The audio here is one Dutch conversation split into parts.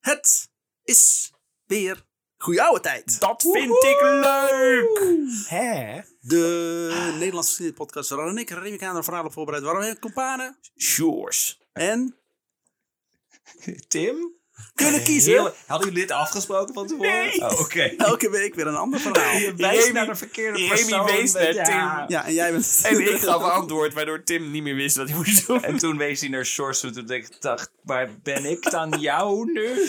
Het is weer goeie oude tijd. Dat vind ik leuk! Hè? De Nederlandse geschiedenispodcast waar Ron en ik Remy Kamer een verhaal op voorbereid. Waarom hebben companen Shores. en Tim? kunnen kiezen. Heel- hadden jullie dit afgesproken van tevoren? Nee. Oh, oké. Elke week weer een ander verhaal. Je wijst Remy- naar de verkeerde Remy persoon. wees met- naar ja. Ja, en jij bent... En ik gaf antwoord, waardoor Tim niet meer wist wat hij moest doen. En toen wees hij naar Shores toe. Toen dacht ik, dacht, waar ben ik dan jou nu?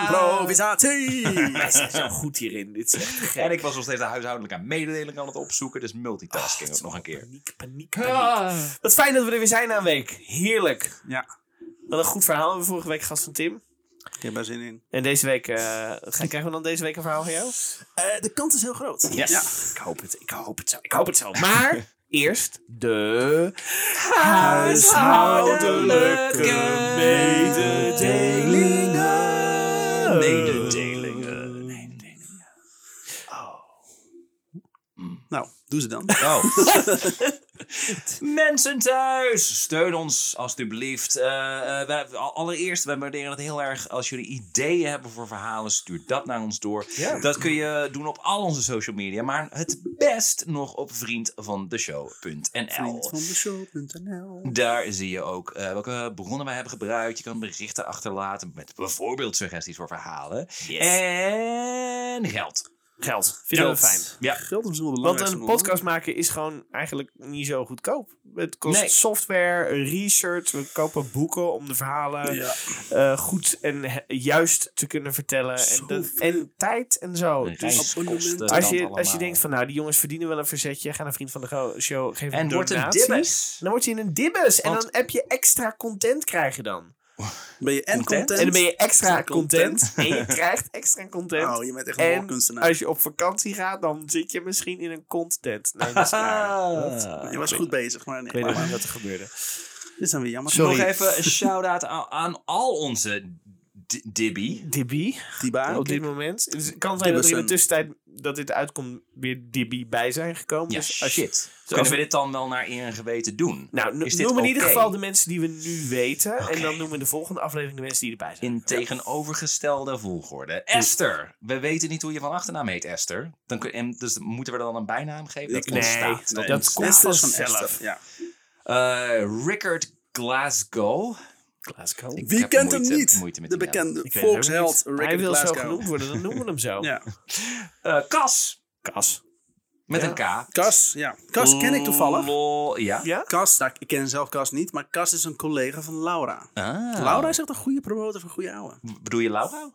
Improvisatie! Hij is zo goed hierin. Dit is echt gek. En ik was nog steeds de huishoudelijke mededeling aan het opzoeken. Dus multitasking ook nog een keer. Paniek, paniek, paniek. Wat fijn dat we er weer zijn na een week. Heerlijk. Ja, Wat een goed verhaal. We vorige week gast van Tim. ik heb daar zin in. En deze week, eh, ga- krijgen we dan deze week een verhaal van jou? Eh, de kans is heel groot. Ja. Ik hoop het. Ik hoop het zo. Ik hoop het zo. Maar eerst de mededelingen. Mededelingen. Nou, doe ze dan. Oh. Mensen thuis, steun ons alstublieft. Eh, eh, wij- a- allereerst, wij waarderen het heel erg als jullie ideeën hebben voor verhalen. Stuur dat naar ons door. Dat kun je doen op al onze social media. Maar het best nog op vriendvandeshow.nl. Vriend van de show.nl Daar zie je ook eh, welke bronnen wij hebben gebruikt. Je kan berichten achterlaten met bijvoorbeeld suggesties voor verhalen. En geld. Geld. Vinden we Geld. fijn. Ja. Geld is wel Want belangrijk. een podcast maken is gewoon eigenlijk niet zo goedkoop. Het kost Nee. software, research. We kopen boeken om de verhalen Ja. eh, goed en he- juist te kunnen vertellen. En, dat- en tijd en zo. Dus Reiskosten als dan je, als je allemaal. denkt van nou, die jongens verdienen wel een verzetje. Ga naar Vriend van de Go- Show, geef En een wordt een donatie. dibbes. Dan word je in een dibbes. En Want- dan heb je extra content krijg je dan. Ben je en Content? content? En dan ben je extra Extra content. content. En je krijgt extra content. Oh, je bent echt een En woordkunstenaar. als je op vakantie gaat, dan zit je misschien in een content. Nee, Dus dat is raar. Dat- Je was goed bezig, maar nee. Ik weet maar- nog niet wat er gebeurde. Dit zijn weer jammer. Sorry. Nog even een shout-out aan, aan al onze d- dibby. Dibby, Die baan. op dit moment. Dus het kan zijn dat er in de Dibbersen. tussentijd dat dit uitkomt weer Dibby bij zijn gekomen. Ja, dus als je- shit. Kunnen we dit dan wel naar eer en geweten doen? nou, no- Is dit noem in ieder oké? geval de mensen die we nu weten. En dan noemen we de volgende aflevering de mensen die erbij zijn. In tegenovergestelde volgorde. Esther! We weten niet hoe je van achternaam heet, Esther. Dan kun, en dus moeten we er dan een bijnaam geven? Dat Ik- nee, ontstaat. nee. Dat Dat ontstaat. komt Esther is van vanzelf. Esther, Ja. Eh, Rickard Glasgow. Glasgow. Ik Wie heb kent hem moeite- niet? moeite met de die naam. bekende Ik weet het ook volksheld niet. Rick Hij wil Glasgow. zo genoemd worden, dan noemen we hem zo. Ja. Eh, Cas! Kas. Met Ja. een K. Cas, ja. Cas ken ik toevallig. Lol, ja. Ja? Cas, nou, ik ken zelf Cas niet, maar Cas is een collega van Laura. Ah. Laura is echt een goede promotor van goede ouwe. Bedoel je Laura?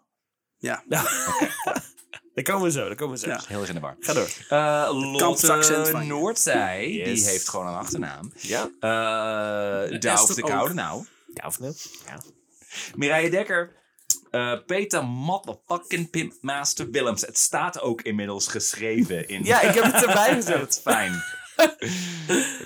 Ja. Daar komen we zo, daar komen we zo. Ja. Heel erg in de war. Ga door. Eh kampsaccent Lotte van je. Noordzij, Yes. die heeft gewoon een achternaam. Ja? Eh Dauf Esther de ook. Koude, nou. Ja of nee? Ja. Mireille Dekker. Eh Peter Motherfucking Pimpmaster Willems. Het staat ook inmiddels geschreven in. ja, ik heb het erbij gezet. dat is fijn. Daar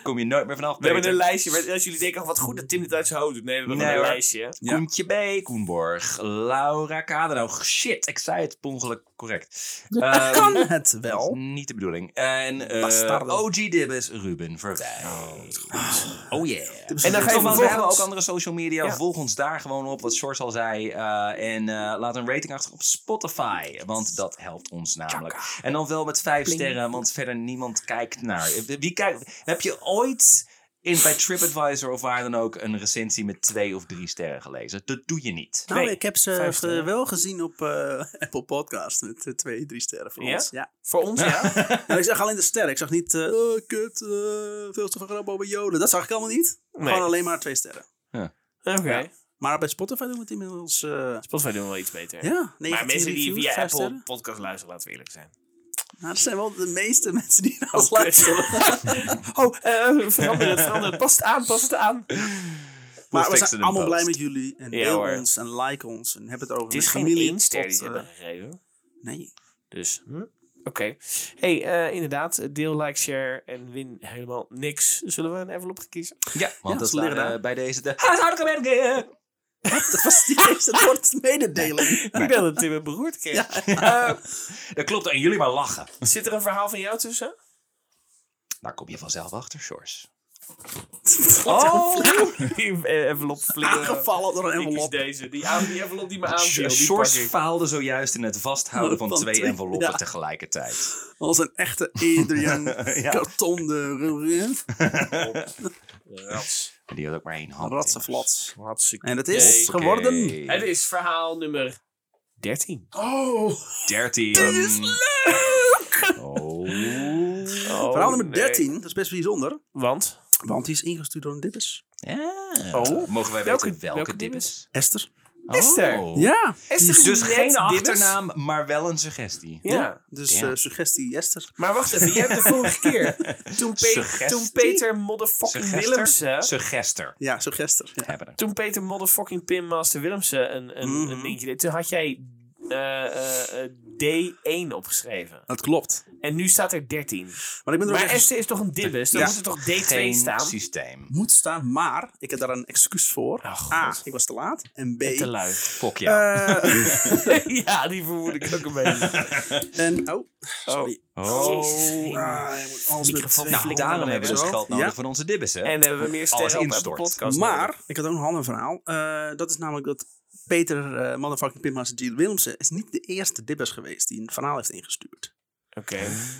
kom je nooit meer vanaf. We hebben Peter. een lijstje. maar Als jullie denken, oh, wat goed dat Tim dit uit zijn hoofd doet. Nee, we hebben Nee, gewoon een hoor. lijstje. Ja. Koentje B, Koenborg, Laura Kader. Nou, shit, ik zei het per ongeluk correct. Eh, kan het dat wel. is Niet de bedoeling. En eh, Bastardo. OG Dibbes, Ruben Verwij. Oh yeah. is En dan een ga je Toch, want we hebben vervolgens- ook andere social media. Ja. Volg ons daar gewoon op, wat Shorts al zei. Eh, en eh, laat een rating achter op Spotify. Want dat helpt ons namelijk. En dan wel met vijf sterren, want verder niemand kijkt naar. Wie kijkt, heb je ooit in, bij TripAdvisor of waar dan ook een recensie met twee of drie sterren gelezen? Dat doe je niet. Nou, Nee, ik heb ze vijf sterren. eh, wel gezien op eh, Apple Podcast met eh, twee, drie sterren voor Ja? ons. Ja. Voor ons, ja. En ik zag alleen de sterren. Ik zag niet, eh, oh, kut, eh, veel te veel grap over joden. Dat zag ik allemaal niet. Nee. Gewoon alleen maar twee sterren. Oké. Ja. Maar bij Spotify doen we het inmiddels... eh, Spotify doen we wel iets beter. ja, 19 Maar mensen die reviews, via vijf Apple sterren. podcast luisteren, laten we eerlijk zijn. Nou, dat zijn wel de meeste mensen die naar Oh, ons kut. luisteren. Oh, eh, verander het, verander het. Pas het aan, pas het aan. Maar we fixen zijn een allemaal blij post. met jullie. En Ja, deel hoor. ons en like ons. En heb het over Het is met geen familie één ster die tot, ze eh, hebben gegeven. nee. Dus, hm? oké. hey, eh, inderdaad. Deel, like, share en win helemaal niks. Zullen we een envelop kiezen? Ja, want Ja, dat ze leren waren daar. eh, bij deze de huishoudelijke merken. Dat was niet eens het woord mededeling. Ik ben dat Tim een beroerd kreeg. Eh, Dat klopt, en jullie maar lachen. Nou, zit er een verhaal van jou tussen? Daar kom je vanzelf achter, Shores. Oh, Die eh, envelop flikkeren. Aangevallen door een Ik kies envelop. deze. Die, aan, die envelop die me aanviel, die pak Sjors ik. faalde zojuist in het vasthouden van Van twee twee, enveloppen ja. tegelijkertijd. Als een echte Adrian Ja. karton de Oh, Rats. En die had ook maar één hand. ratsenflats. Hartstikke. En het is Oké. geworden... Het is verhaal nummer 13. Oh, 13. dit is Ehm. leuk! Oh. Oh, Verhaal nummer 13, dat is best bijzonder. Want? Want die is ingestuurd door een dippes. Ja. Oh. Mogen wij Welke- weten welke, welke dip dip is? Esther. Esther. Oh. Ja. Esther Dus net geen Dibbes. achternaam, maar wel een suggestie. Ja. Dus Ja. eh, suggestie Esther. Maar wacht even, je hebt de vorige keer. Toen, Pe- Suggestie? toen Peter motherfucking Suggester? Willemsen. Suggester. Ja, suggester. Ja. Hebben we. Toen Peter motherfucking Pinmaster Willemsen een, een, Mhm. een dingetje deed. Toen had jij eh, eh, eh, D1 opgeschreven. Dat klopt. En nu staat er 13. Maar ik ben er Maar ook echt- Esther is toch een dibbes? Dan Ja. moet er toch D2 Geen staan? systeem. moet staan, maar ik heb daar een excuus voor. Oh, God. A, ik was te laat. En B, Te lui. Fok ja. eh, ja, die vermoed ik ook een beetje. en, oh, sorry. Oh. Jezus. Ah, je moet alles met Microfoon twee nou, flikker daarom dan hebben we even dus zo. geld nodig Ja. voor onze dibbes, hè? En hebben we meer Alles sterren op Apple instort. Podcast Maar, ik had ook nog een ander verhaal. Eh, dat is namelijk dat Peter, eh motherfucking Pinmaster G. Willemsen, is niet de eerste dippers geweest die een verhaal heeft ingestuurd. Oké.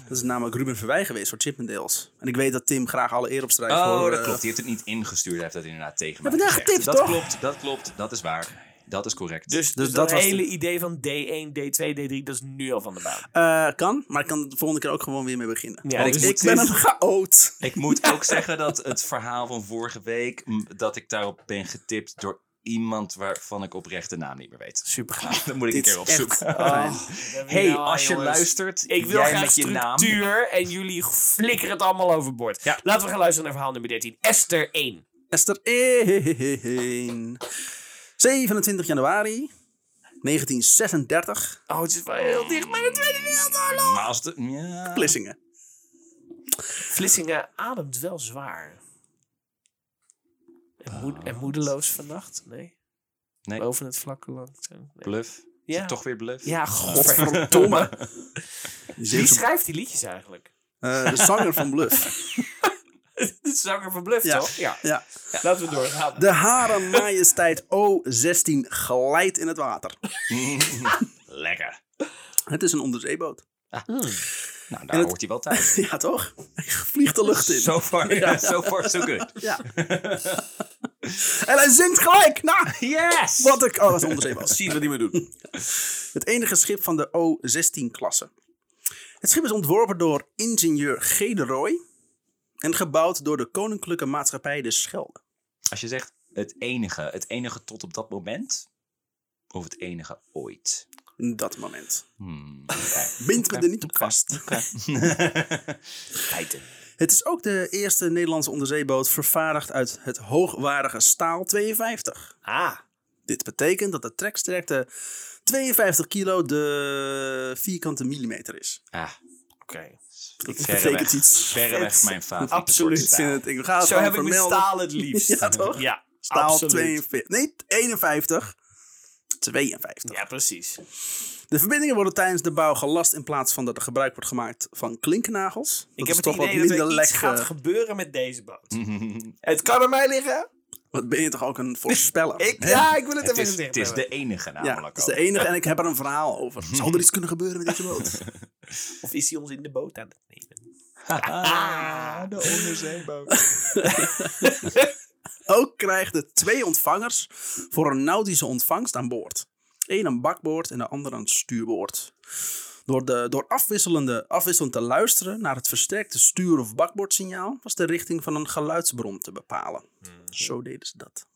Dat is namelijk Ruben Verwij geweest voor Chippendales. En ik weet dat Tim graag alle eer opstrijft Oh, voor... dat eh, klopt. Die heeft het niet ingestuurd. Hij heeft dat inderdaad tegen mij Heb je dat gezegd. getipt, dat toch? klopt, dat klopt. Dat is waar. Dat is correct. Dus, dus dat dat, was hele idee van D1, D2, D3, dat is nu al van de baan. eh, kan, maar ik kan er de volgende keer ook gewoon weer mee beginnen. Ja, Want dus ik moet ben een dit- chaot. ik moet ook zeggen dat het verhaal van vorige week... m, dat ik daarop ben getipt door iemand waarvan ik oprecht de naam niet meer weet. Super gaaf. Dat moet ik een Dit keer is echt opzoeken. fijn. hey, als je luistert, nou, Ik wil jij graag met je naam... structuur en jullie flikkeren het allemaal overboord. Ja. Laten we gaan luisteren naar verhaal nummer 13. Esther 1. Esther 1. 27 januari 1936. Oh, het is wel heel dicht bij de Tweede Wereldoorlog. Maar als de, ja. Vlissingen. Vlissingen ademt wel zwaar. En, moed- en moedeloos vannacht? Nee. Nee. Boven het vlakke land. Nee. Bluff. Is Ja. het Toch weer bluff. Ja, Domme. godverdomme. Wie schrijft die liedjes eigenlijk? Eh, de zanger van Bluff. De zanger van Bluff, Ja. toch? Ja. Ja. Laten we doorgaan. De haren majesteit O16 glijdt in het water. Lekker. Het is een onderzeeboot. Nou, En daar het- hoort hij wel thuis. Ja, toch? Hij vliegt de lucht in. So far, so far, so good. Ja. en hij zingt gelijk. Nou, Yes! wat ik... Oh, dat is een onderzeeboot. Zien wat die me doen. Het enige schip van de O16-klasse. Het schip is ontworpen door ingenieur G. de Rooij en gebouwd door de Koninklijke Maatschappij de Schelde. Als je zegt het enige, het enige tot op dat moment, of het enige ooit? Dat moment. Hmm, oké. Bind me er niet op vast. Feiten. Het is ook de eerste Nederlandse onderzeeboot vervaardigd uit het hoogwaardige staal 52. Ah. Dit betekent dat de treksterkte 52 kilo de vierkante millimeter is. ah, Oké. Dat verreweg- betekent iets. verreweg vets mijn favoriete Absoluut. soort in staal. het, ik ga het Zo gewoon heb ik mijn vermelden. staal het liefst. Ja, toch? Ja, Staal absoluut. 42. Nee, 51. 52. Ja, precies. De verbindingen worden tijdens de bouw gelast in plaats van dat er gebruik wordt gemaakt van klinknagels. Dat Ik is heb het toch wat idee dat minder er iets lekker. gaat gebeuren met deze boot. Het kan aan mij liggen. Wat ben je toch ook een voorspeller? Ik, Nou, hè? ja, ik wil het, Het even is, gezegd het is hebben. de enige Ja, namelijk dat is de ook. enige en ik heb er een verhaal over. Zou er iets kunnen gebeuren met deze boot? Of is hij ons in de boot aan het nemen? Ah, de onderzeeboot. Ook krijgt het twee ontvangers voor een nautische ontvangst aan boord. Eén aan bakboord en de ander aan stuurboord. Door, de, door afwisselende, afwisselend te luisteren naar het versterkte stuur- of bakboordsignaal was de richting van een geluidsbron te bepalen. Zo deden ze dat.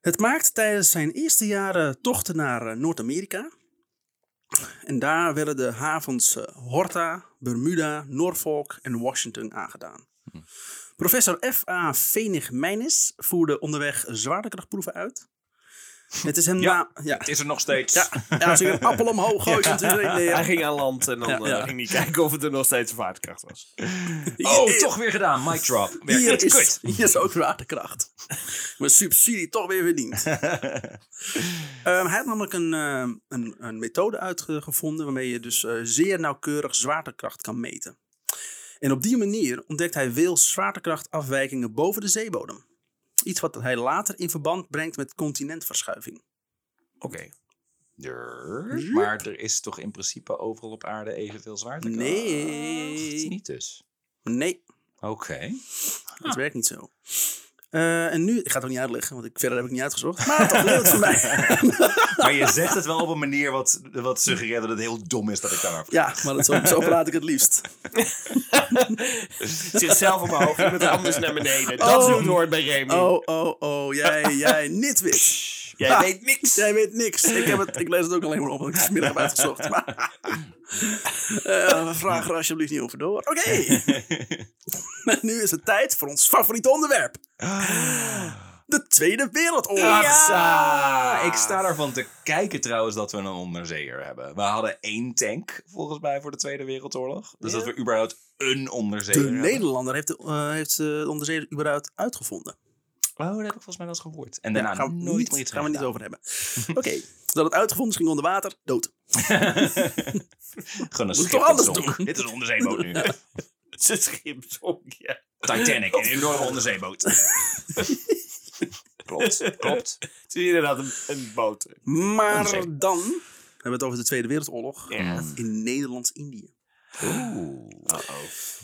Het maakte tijdens zijn eerste jaren tochten naar eh, Noord-Amerika. En daar werden de havens eh, Horta, Bermuda, Norfolk en Washington aangedaan. Professor F.A. Venig Meijnes voerde onderweg zwaartekrachtproeven uit. Het is hem Ja. na... Ja. Het is er nog steeds. Ja, ja, als ik een appel omhoog gooi, komt hij erin neer. Hij ging aan land en dan Ja, ja. eh, ging hij kijken of het er nog steeds vaartkracht was. Oh, Hier- toch weer gedaan. Mic drop. Weer Hier goed. is, hier is ook zwaartekracht. Mijn subsidie toch weer verdiend. Ehm, hij had namelijk een, ehm, een, een methode uitgevonden waarmee je dus eh, zeer nauwkeurig zwaartekracht kan meten. En op die manier ontdekt hij Wales zwaartekrachtafwijkingen boven de zeebodem. Iets wat hij later in verband brengt met continentverschuiving. Oké. Durr. Maar er is toch in principe overal op aarde evenveel zwaartekracht? Nee. Niet dus. Nee, Oké. dat werkt niet zo. Eh, en nu, ik ga het ook niet uitleggen, want ik, verder heb ik niet uitgezocht. Maar toch leuk voor mij. Maar je zegt het wel op een manier wat, wat suggereert dat het heel dom is dat ik daarover Ja, maar dat, zo, zo praat ik het liefst. Zichzelf omhoog, iemand anders naar beneden. Dat is hoe het hoort bij Remy. Oh, oh, oh, jij, jij, nitwit. Jij Ha. weet niks. Jij weet niks. Ik, heb het, ik lees het ook alleen maar op, want ik het vanmiddag heb uitgezocht. Maar, Eh, vraag er alsjeblieft niet over door. Oké, nu is het tijd voor ons favoriete onderwerp. De Tweede Wereldoorlog. Ja! Ah. Ah. Ik sta ervan te kijken trouwens dat we een onderzeeër hebben. We hadden één tank volgens mij voor de Tweede Wereldoorlog. Dus Ja. dat we überhaupt een onderzeeër De hebben. Nederlander heeft de, eh, heeft eh, de onderzeeër überhaupt uitgevonden. Oh, dat heb ik volgens mij wel eens gehoord. En Ja, daarna gaan we nooit niet, meer iets gaan we niet gedaan. over hebben. Oké, dat het uitgevonden is, ging onder water, dood. Gewoon een Moet ik schip toch dat alles zonk. doen? Dit is een onderzeeboot nu. Ze schip zonk, ja. Titanic, een enorme onderzeeboot. klopt, klopt. Het is inderdaad een, een boot. Maar Onderzeeër. dan hebben we het over de Tweede Wereldoorlog Ja. in Nederlands-Indië. Oeh. Ah.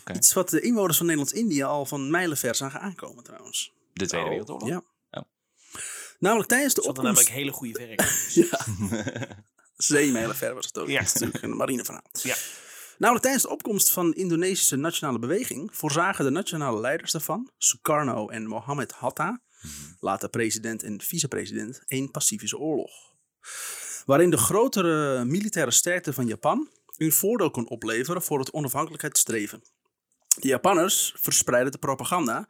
Oké. Iets wat de inwoners van Nederlands-Indië al van mijlenver zagen aankomen trouwens. De Tweede Oh. Wereldoorlog? Ja. Ja. Namelijk tijdens de Ze hadden opkomst... namelijk hele goede werk. Zeemijlenver was het ook. Ja. Dat is natuurlijk een marineverhaal. Ja. Namelijk tijdens de opkomst van de Indonesische nationale beweging voorzagen de nationale leiders daarvan, Sukarno en Mohammed Hatta, Mhm. later president en vicepresident, een Pacifische oorlog. Waarin de grotere militaire sterkte van Japan hun voordeel kon opleveren voor het onafhankelijkheidsstreven. De Japanners verspreidden de propaganda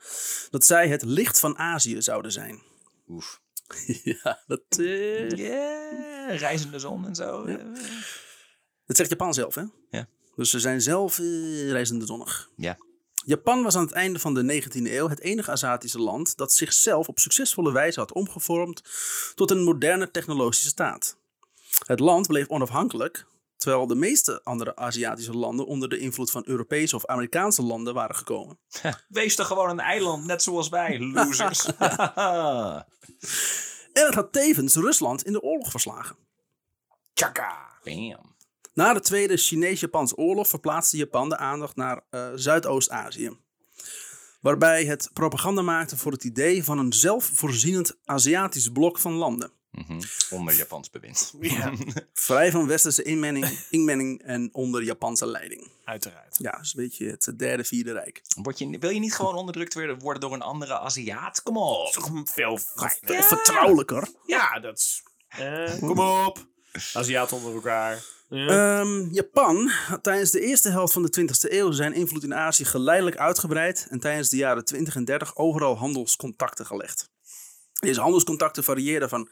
dat zij het licht van Azië zouden zijn. Oef. ja, dat, eh, Yeah, reizende zon en zo. Dat zegt Japan zelf, hè? Ja. Dus ze zijn zelf eh, reizende zonnig. Ja. Japan was aan het einde van de 19e eeuw het enige Aziatische land dat zichzelf op succesvolle wijze had omgevormd tot een moderne technologische staat. Het land bleef onafhankelijk, terwijl de meeste andere Aziatische landen onder de invloed van Europese of Amerikaanse landen waren gekomen. Wees toch gewoon een eiland, net zoals wij, losers. Ah. En het had tevens Rusland in de oorlog verslagen. Tjaka. Bam. Na de Tweede Chinees-Japanse oorlog verplaatste Japan de aandacht naar eh, Zuidoost-Azië. Waarbij het propaganda maakte voor het idee van een zelfvoorzienend Aziatisch blok van landen. Onder Japans bewind. Ja, Vrij van westerse inmenging, inmenging en onder Japanse leiding. uiteraard. Ja, is een beetje het derde, vierde rijk. Word je, wil je niet gewoon onderdrukt weer worden door een andere Aziat? Kom op. Toch veel fijner. Of Vertrouwelijker. Ja, dat is... Eh, kom op. Aziaten onder elkaar. Eh, Ja. Ehm, Japan had tijdens de eerste helft van de 20e eeuw zijn invloed in Azië geleidelijk uitgebreid en tijdens de jaren 20 en 30 overal handelscontacten gelegd. Deze handelscontacten varieerden van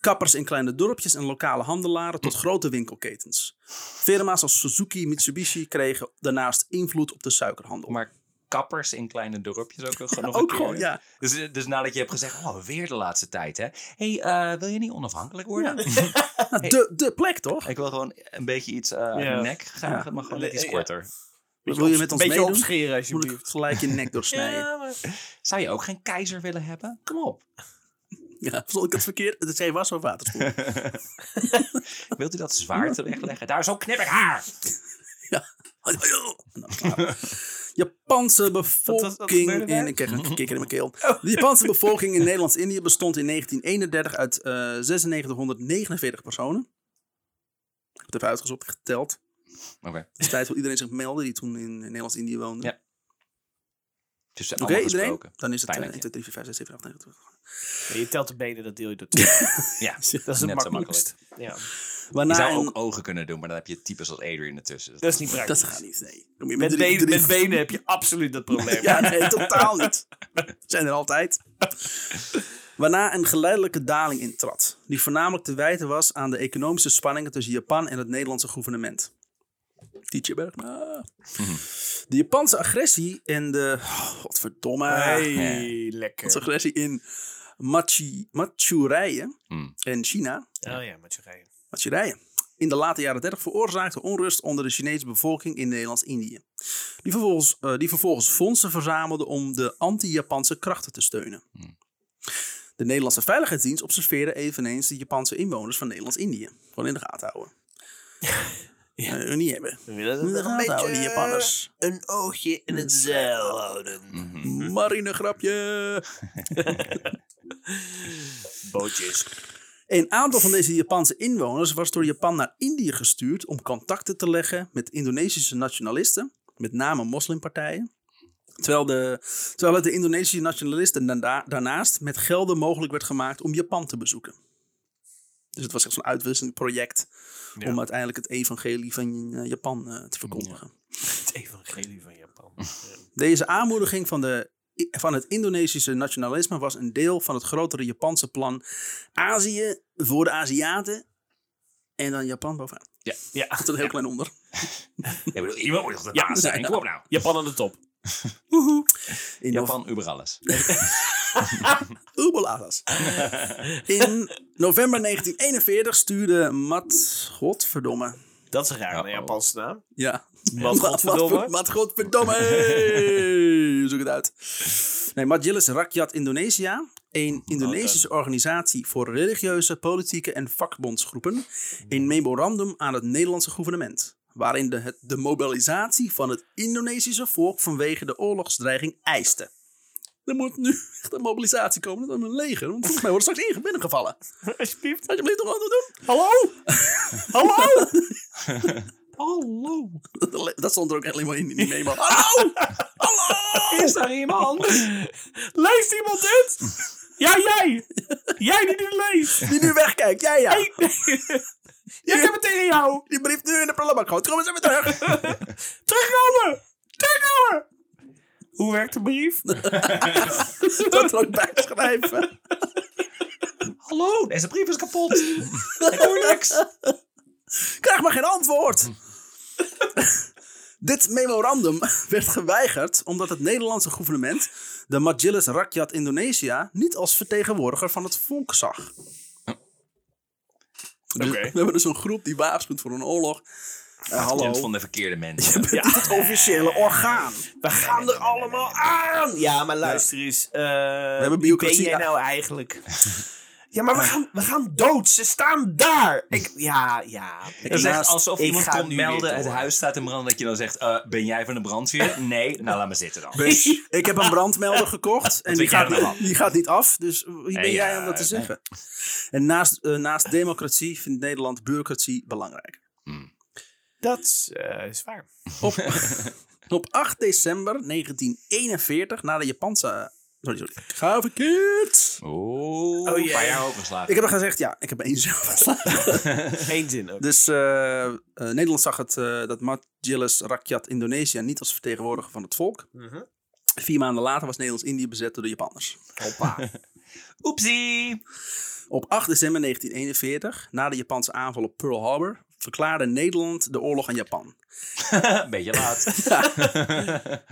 kappers in kleine dorpjes en lokale handelaren tot grote winkelketens. Firma's als Suzuki, Mitsubishi kregen daarnaast invloed op de suikerhandel. Maar kappers in kleine dorpjes ook nog een ook keer. gewoon, ja. Dus, dus nadat je hebt gezegd, oh, weer de laatste tijd, hè. Hé, hey, eh, wil je niet onafhankelijk worden? Nou, de, de plek toch? Ik wil gewoon een beetje iets eh uit Ja. mijn nek graag, Ja. maar gewoon net iets Ja. korter. Wat wil je met ons Beetje meedoen? opscheren, Moet ik alsjeblieft. gelijk je nek doorsnijden? Ja, Ja, maar... Zou je ook geen keizer willen hebben? Kom op. vond ik het verkeerd? Het is was of waterspoel. Wilt u dat zwaard wegleggen? Daar, zo knip ik haar! Nou, klaar. Japanse Wat- wat gebeurde bevolking. daar? In, ik kreeg een kikker in mijn keel. Oh. De Japanse bevolking in Nederlands-Indië bestond in 1931 uit eh 9649 personen. Ik heb het even uitgezocht, geteld. Oké. Het is tijd voor iedereen zich melden die toen in Nederlands-Indië woonde. Ja, Dus ze Oké, allemaal iedereen? gesproken. Dan is het eh, Fijn, 1, dank 2, 3, 4, 5, 6, 7, 8, 9, 10. Ja, je telt de benen, dat deel je door twee. Ja, Dat is het net zo makkelijkst. Ja. Je Waarna zou een- ook ogen kunnen doen, maar dan heb je types als Adrian ertussen. Dat is niet praktisch. Dat gaat niet, nee. Dan moet je Met, drie- benen, drie- met benen heb je absoluut dat probleem. Ja, nee, totaal niet. Zijn er altijd. Waarna een geleidelijke daling intrad, die voornamelijk te wijten was aan de economische spanningen tussen Japan en het Nederlandse gouvernement. Tietje Bergma. De Japanse agressie en de. oh, godverdomme. Hey, lekker. Japanse agressie in Machi, Manchurije Hmm. en China. Oh ja, met je rijden. Manchurije. in de late jaren 30 veroorzaakte onrust onder de Chinese bevolking in Nederlands-Indië. Die, vervolgens- eh, die vervolgens fondsen verzamelde om de anti-Japanse krachten te steunen. De Nederlandse Veiligheidsdienst observeerde eveneens de Japanse inwoners van Nederlands-Indië. Gewoon in de gaten houden. Ja. Eh, niet hebben. We willen In de gaten houden, die Japanners. eh, een oogje in het zeil houden. Mhm. Marinegrapje! Bootjes. Een aantal van deze Japanse inwoners was door Japan naar Indië gestuurd om contacten te leggen met Indonesische nationalisten, met name moslimpartijen. Terwijl, de, terwijl het de Indonesische nationalisten daarna- daarnaast met gelden mogelijk werd gemaakt om Japan te bezoeken. Dus het was echt zo'n uitwisselend project Ja. om uiteindelijk het evangelie van eh, Japan eh, te verkondigen. Het evangelie van Japan. Ja. Deze aanmoediging van, de, van het Indonesische nationalisme was een deel van het grotere Japanse plan Azië voor de Aziaten. En dan Japan bovenaan. Ja. Tot een heel klein onder. Ik bedoel, iemand moet toch de Ja, baas zijn? Kom op nou. Japan aan de top. In nove- Japan, uber alles. Ubeladas. In november 1941 stuurde Mat. Godverdomme. Dat is een raar, een Uh-oh. Japanse naam. Ja. Wat godverdomme. Mat, mat godverdomme. Hey, Zoek het uit. Nee, Majelis Rakyat Indonesia. Een Indonesische organisatie voor religieuze, politieke en vakbondsgroepen. Een memorandum aan het Nederlandse gouvernement. Waarin de, het- de mobilisatie van het Indonesische volk vanwege de oorlogsdreiging eiste. Er moet nu echt een mobilisatie komen. Dat is een leger. Want volgens mij worden straks inge- binnengevallen. Alsjeblieft. Alsjeblieft, toch wat doen? Hallo? Hallo? Hallo? Dat stond er ook echt helemaal in, in die memo. Ah, Hallo! Is daar iemand? Leest iemand dit? Ja, jij! Jij die dit leest! Die nu wegkijkt. Ja, ja. Hey. Ja, ik heb het tegen jou! Die brief nu in de prullenbak gooit. Kom eens even terug. Terugkomen! Terugkomen! Hoe werkt de brief? Dat er ook bij schrijven. Hallo, deze brief is kapot. Ik hoor niks. Krijg maar geen antwoord. Dit memorandum werd geweigerd omdat het Nederlandse gouvernement de Majelis Rakyat Indonesia niet als vertegenwoordiger van het volk zag. Dus Oké. We hebben dus een groep die waarschuwt voor een oorlog. Eh, hallo. Komt van de verkeerde mensen. Dit is het officiële orgaan. We gaan er allemaal aan! Ja, maar luister eens. eh, hebben wie ben bureaucratie- jij nou eigenlijk? Ja, maar we gaan, we gaan dood. Ze staan daar. Ik, ja, ja. Dat is echt Naast- alsof ik iemand ga komt nu weer melden, het door. huis staat in brand, dat je dan zegt, eh, ben jij van de brandweer? Nee, nou laat maar zitten dan. Dus ik heb een brandmelder gekocht en die vind jij gaat, er nou niet, die gaat niet af. Dus wie ben Eh, jij ja, om dat te nee. zeggen? En naast, eh, naast democratie vindt Nederland bureaucratie belangrijk. Dat eh, is waar. Op, op 8 december 1941, na de Japanse... Sorry, sorry. Ik Ga verkeerd! Oeh, Oh, een paar jee. jaar overgeslagen. Ik heb al gezegd, ja, ik heb één zelf geslagen. Geen zin ook. Dus eh, eh, Nederland zag het, eh, dat Majelis Rakyat Indonesië niet als vertegenwoordiger van het volk. Mhm. Vier maanden later was Nederlands-Indië bezet door de Japanners. Hoppa. Oepsie. Op 8 december 1941, na de Japanse aanval op Pearl Harbor, verklaarde Nederland de oorlog aan Japan. Beetje laat.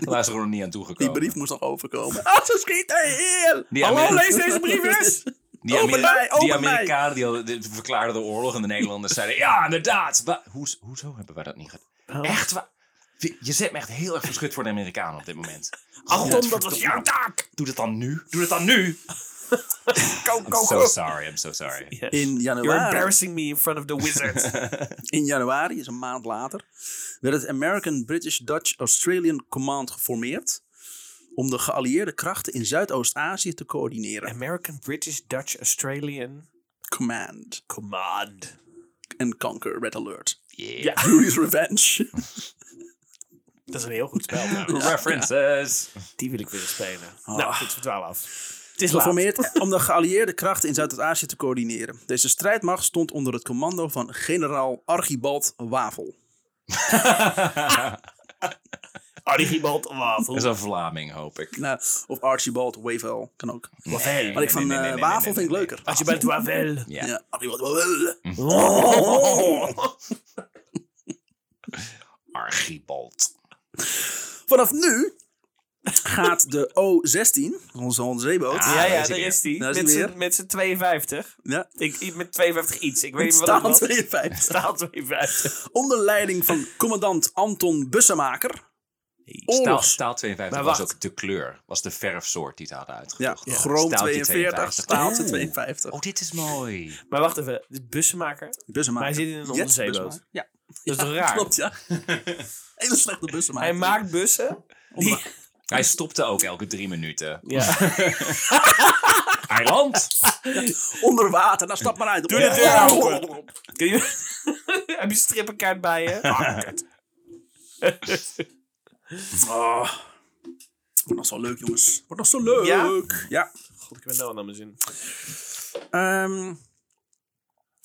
Daar is er nog niet aan toegekomen. Oh. Die brief moest nog overkomen. Ah, ze schieten hier! Die Hallo, Ameri- lees deze brief eens! Die, Open Ameri- mij, open die mij. Amerikanen die hadden- die verklaarden de oorlog en de Nederlanders zeiden, ja, inderdaad. Wa- hoes- hoezo hebben wij dat niet gedaan? Echt waar? Je- Je zet me echt heel erg verschut voor de Amerikanen op dit moment. Anton, dat was jouw taak! Doe dat dan nu. Doe dat dan nu. Go, I'm go, so go! sorry. I'm so sorry. In You're januari, embarrassing me in front of the wizard. in januari, is een maand later, werd het American British Dutch Australian Command geformeerd om de geallieerde krachten in Zuidoost-Azië te coördineren. American, British, Dutch, Australian. Command Command. and Conquer, Red Alert. Ja, Fury's Revenge. dat is een heel goed spel. trouwens. References. Die wil ik willen spelen. Nou, goed, we dwalen af. Het is laat. Geformeerd om de geallieerde krachten in Zuidoost-Azië te coördineren. Deze strijdmacht stond onder het commando van generaal Archibald Wafel. Archibald Wafel. Dat is een Vlaming, hoop ik. Nou, of Archibald Wafel, kan ook. Wafel. Maar ik van nee, nee, eh, nee, Wafel nee, vind ik nee, leuker. Archibald Wafel. Ja. Ja, Archibald Wafel. Archibald. Vanaf nu gaat de O16, onze onderzeeboot, Ah, ja, daar ja, is hij daar weer. is die. Daar is hij Met weer. z'n- Met z'n 52. ja, Ik, i- met 52 iets. Ik weet niet wat staal het was. 52, Staal 52. onder leiding van commandant Anton Bussemaker. Staal, Oorlogs. staal 52 Maar was wacht. ook de kleur. Was de verfsoort die ze hadden Ja, uitgezocht. Groom Staaltje 42, staaltje Oeh. 52. Oh, dit is mooi. Maar wacht even. De bussenmaker. Bussemaker. Maar hij zit in een Yes, onderzeeboot. Bussemaker. Ja, Dat is Ja, raar. Klopt, ja. Hele slechte Bussemaker. Hij maakt bussen. Die, Hij stopte ook elke drie minuten. ja. Hij landt. Onder water, nou stap maar uit. Doe de deur open. Kun je- Heb je strippenkaart bij je? Oh. Wordt nog zo leuk, jongens. Wordt nog zo leuk. Ja? ja. God, ik ben nou aan mijn zin. Ehm,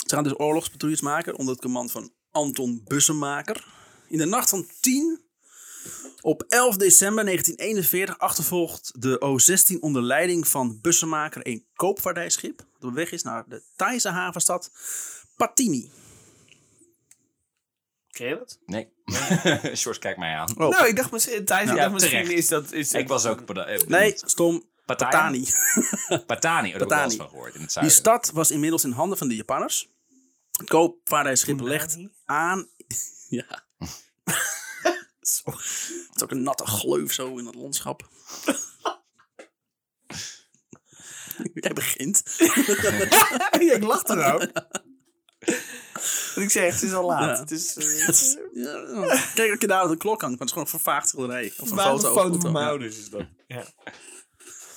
ze gaan dus oorlogspatrouilles maken onder het command van Anton Bussemaker. In de nacht van 10 op 11 december 1941 achtervolgt de O-16 onder leiding van Bussemaker een koopvaardijschip dat op weg is naar de Thaise havenstad Patini. Ken je dat? Nee. Sjors, kijk mij aan. Oh. Nou, ik dacht misschien, Thijs, ik Ja, dacht misschien terecht. is dat... Is Ik was ook... pada- eh, Nee, benieuwd. stom. Pattaya? Patani. Patani. Oh, daar heb ik wel Patani. eens van gehoord. In Die het zuiden. stad was inmiddels in handen van de Japanners. Het koopvaardijschip legt aan. Ja. Zo. Het is ook een natte gleuf zo in het landschap. Jij begint. ik lachte nou. ik zeg, het is al laat. Ja. Het is... Ja, Kijk dat je daar de klok hangt, maar het is gewoon een vervaagd schilderij. Of een foto. of van foto, mijn ja. ouders is dat. Ja.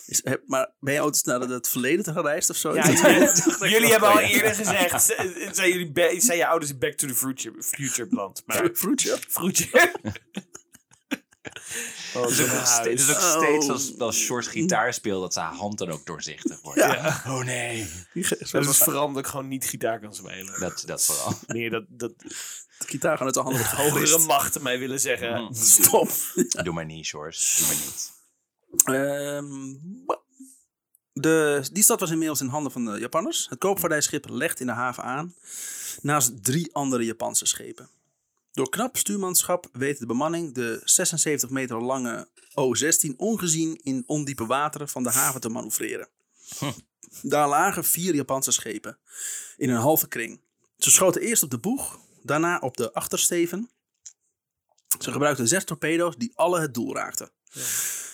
Is- heb- Maar ben je ooit naar het verleden gereisd of zo? Ja, jullie hebben al eerder gezegd, z- zijn, jullie be- zijn je ouders een Back to the Future, future plant. Maar Vroetje? Future? oh, Het is ook, nog steeds- het is ook Oh. steeds als, als Sjors gitaar speelt dat zijn hand dan ook doorzichtig wordt. Ja. Oh nee. Die ge- zo Dat is Oh. is vooral dat ik gewoon niet gitaar kan spelen. Dat, dat vooral. Nee, dat, dat de gitaar gewoon uit de handen. wordt hogere gewist. machten mij willen zeggen. Stop. Doe maar niet, Sjors. Doe maar niet. Ehm, ba- de, die stad was inmiddels in handen van de Japanners. Het koopvaardijschip legt in de haven aan naast drie andere Japanse schepen. Door knap stuurmanschap weet de bemanning de 76 meter lange O-16 ongezien in ondiepe wateren van de haven te manoeuvreren. Daar lagen vier Japanse schepen in een halve kring. Ze schoten eerst op de boeg, daarna op de achtersteven. Ze gebruikten zes torpedo's die alle het doel raakten.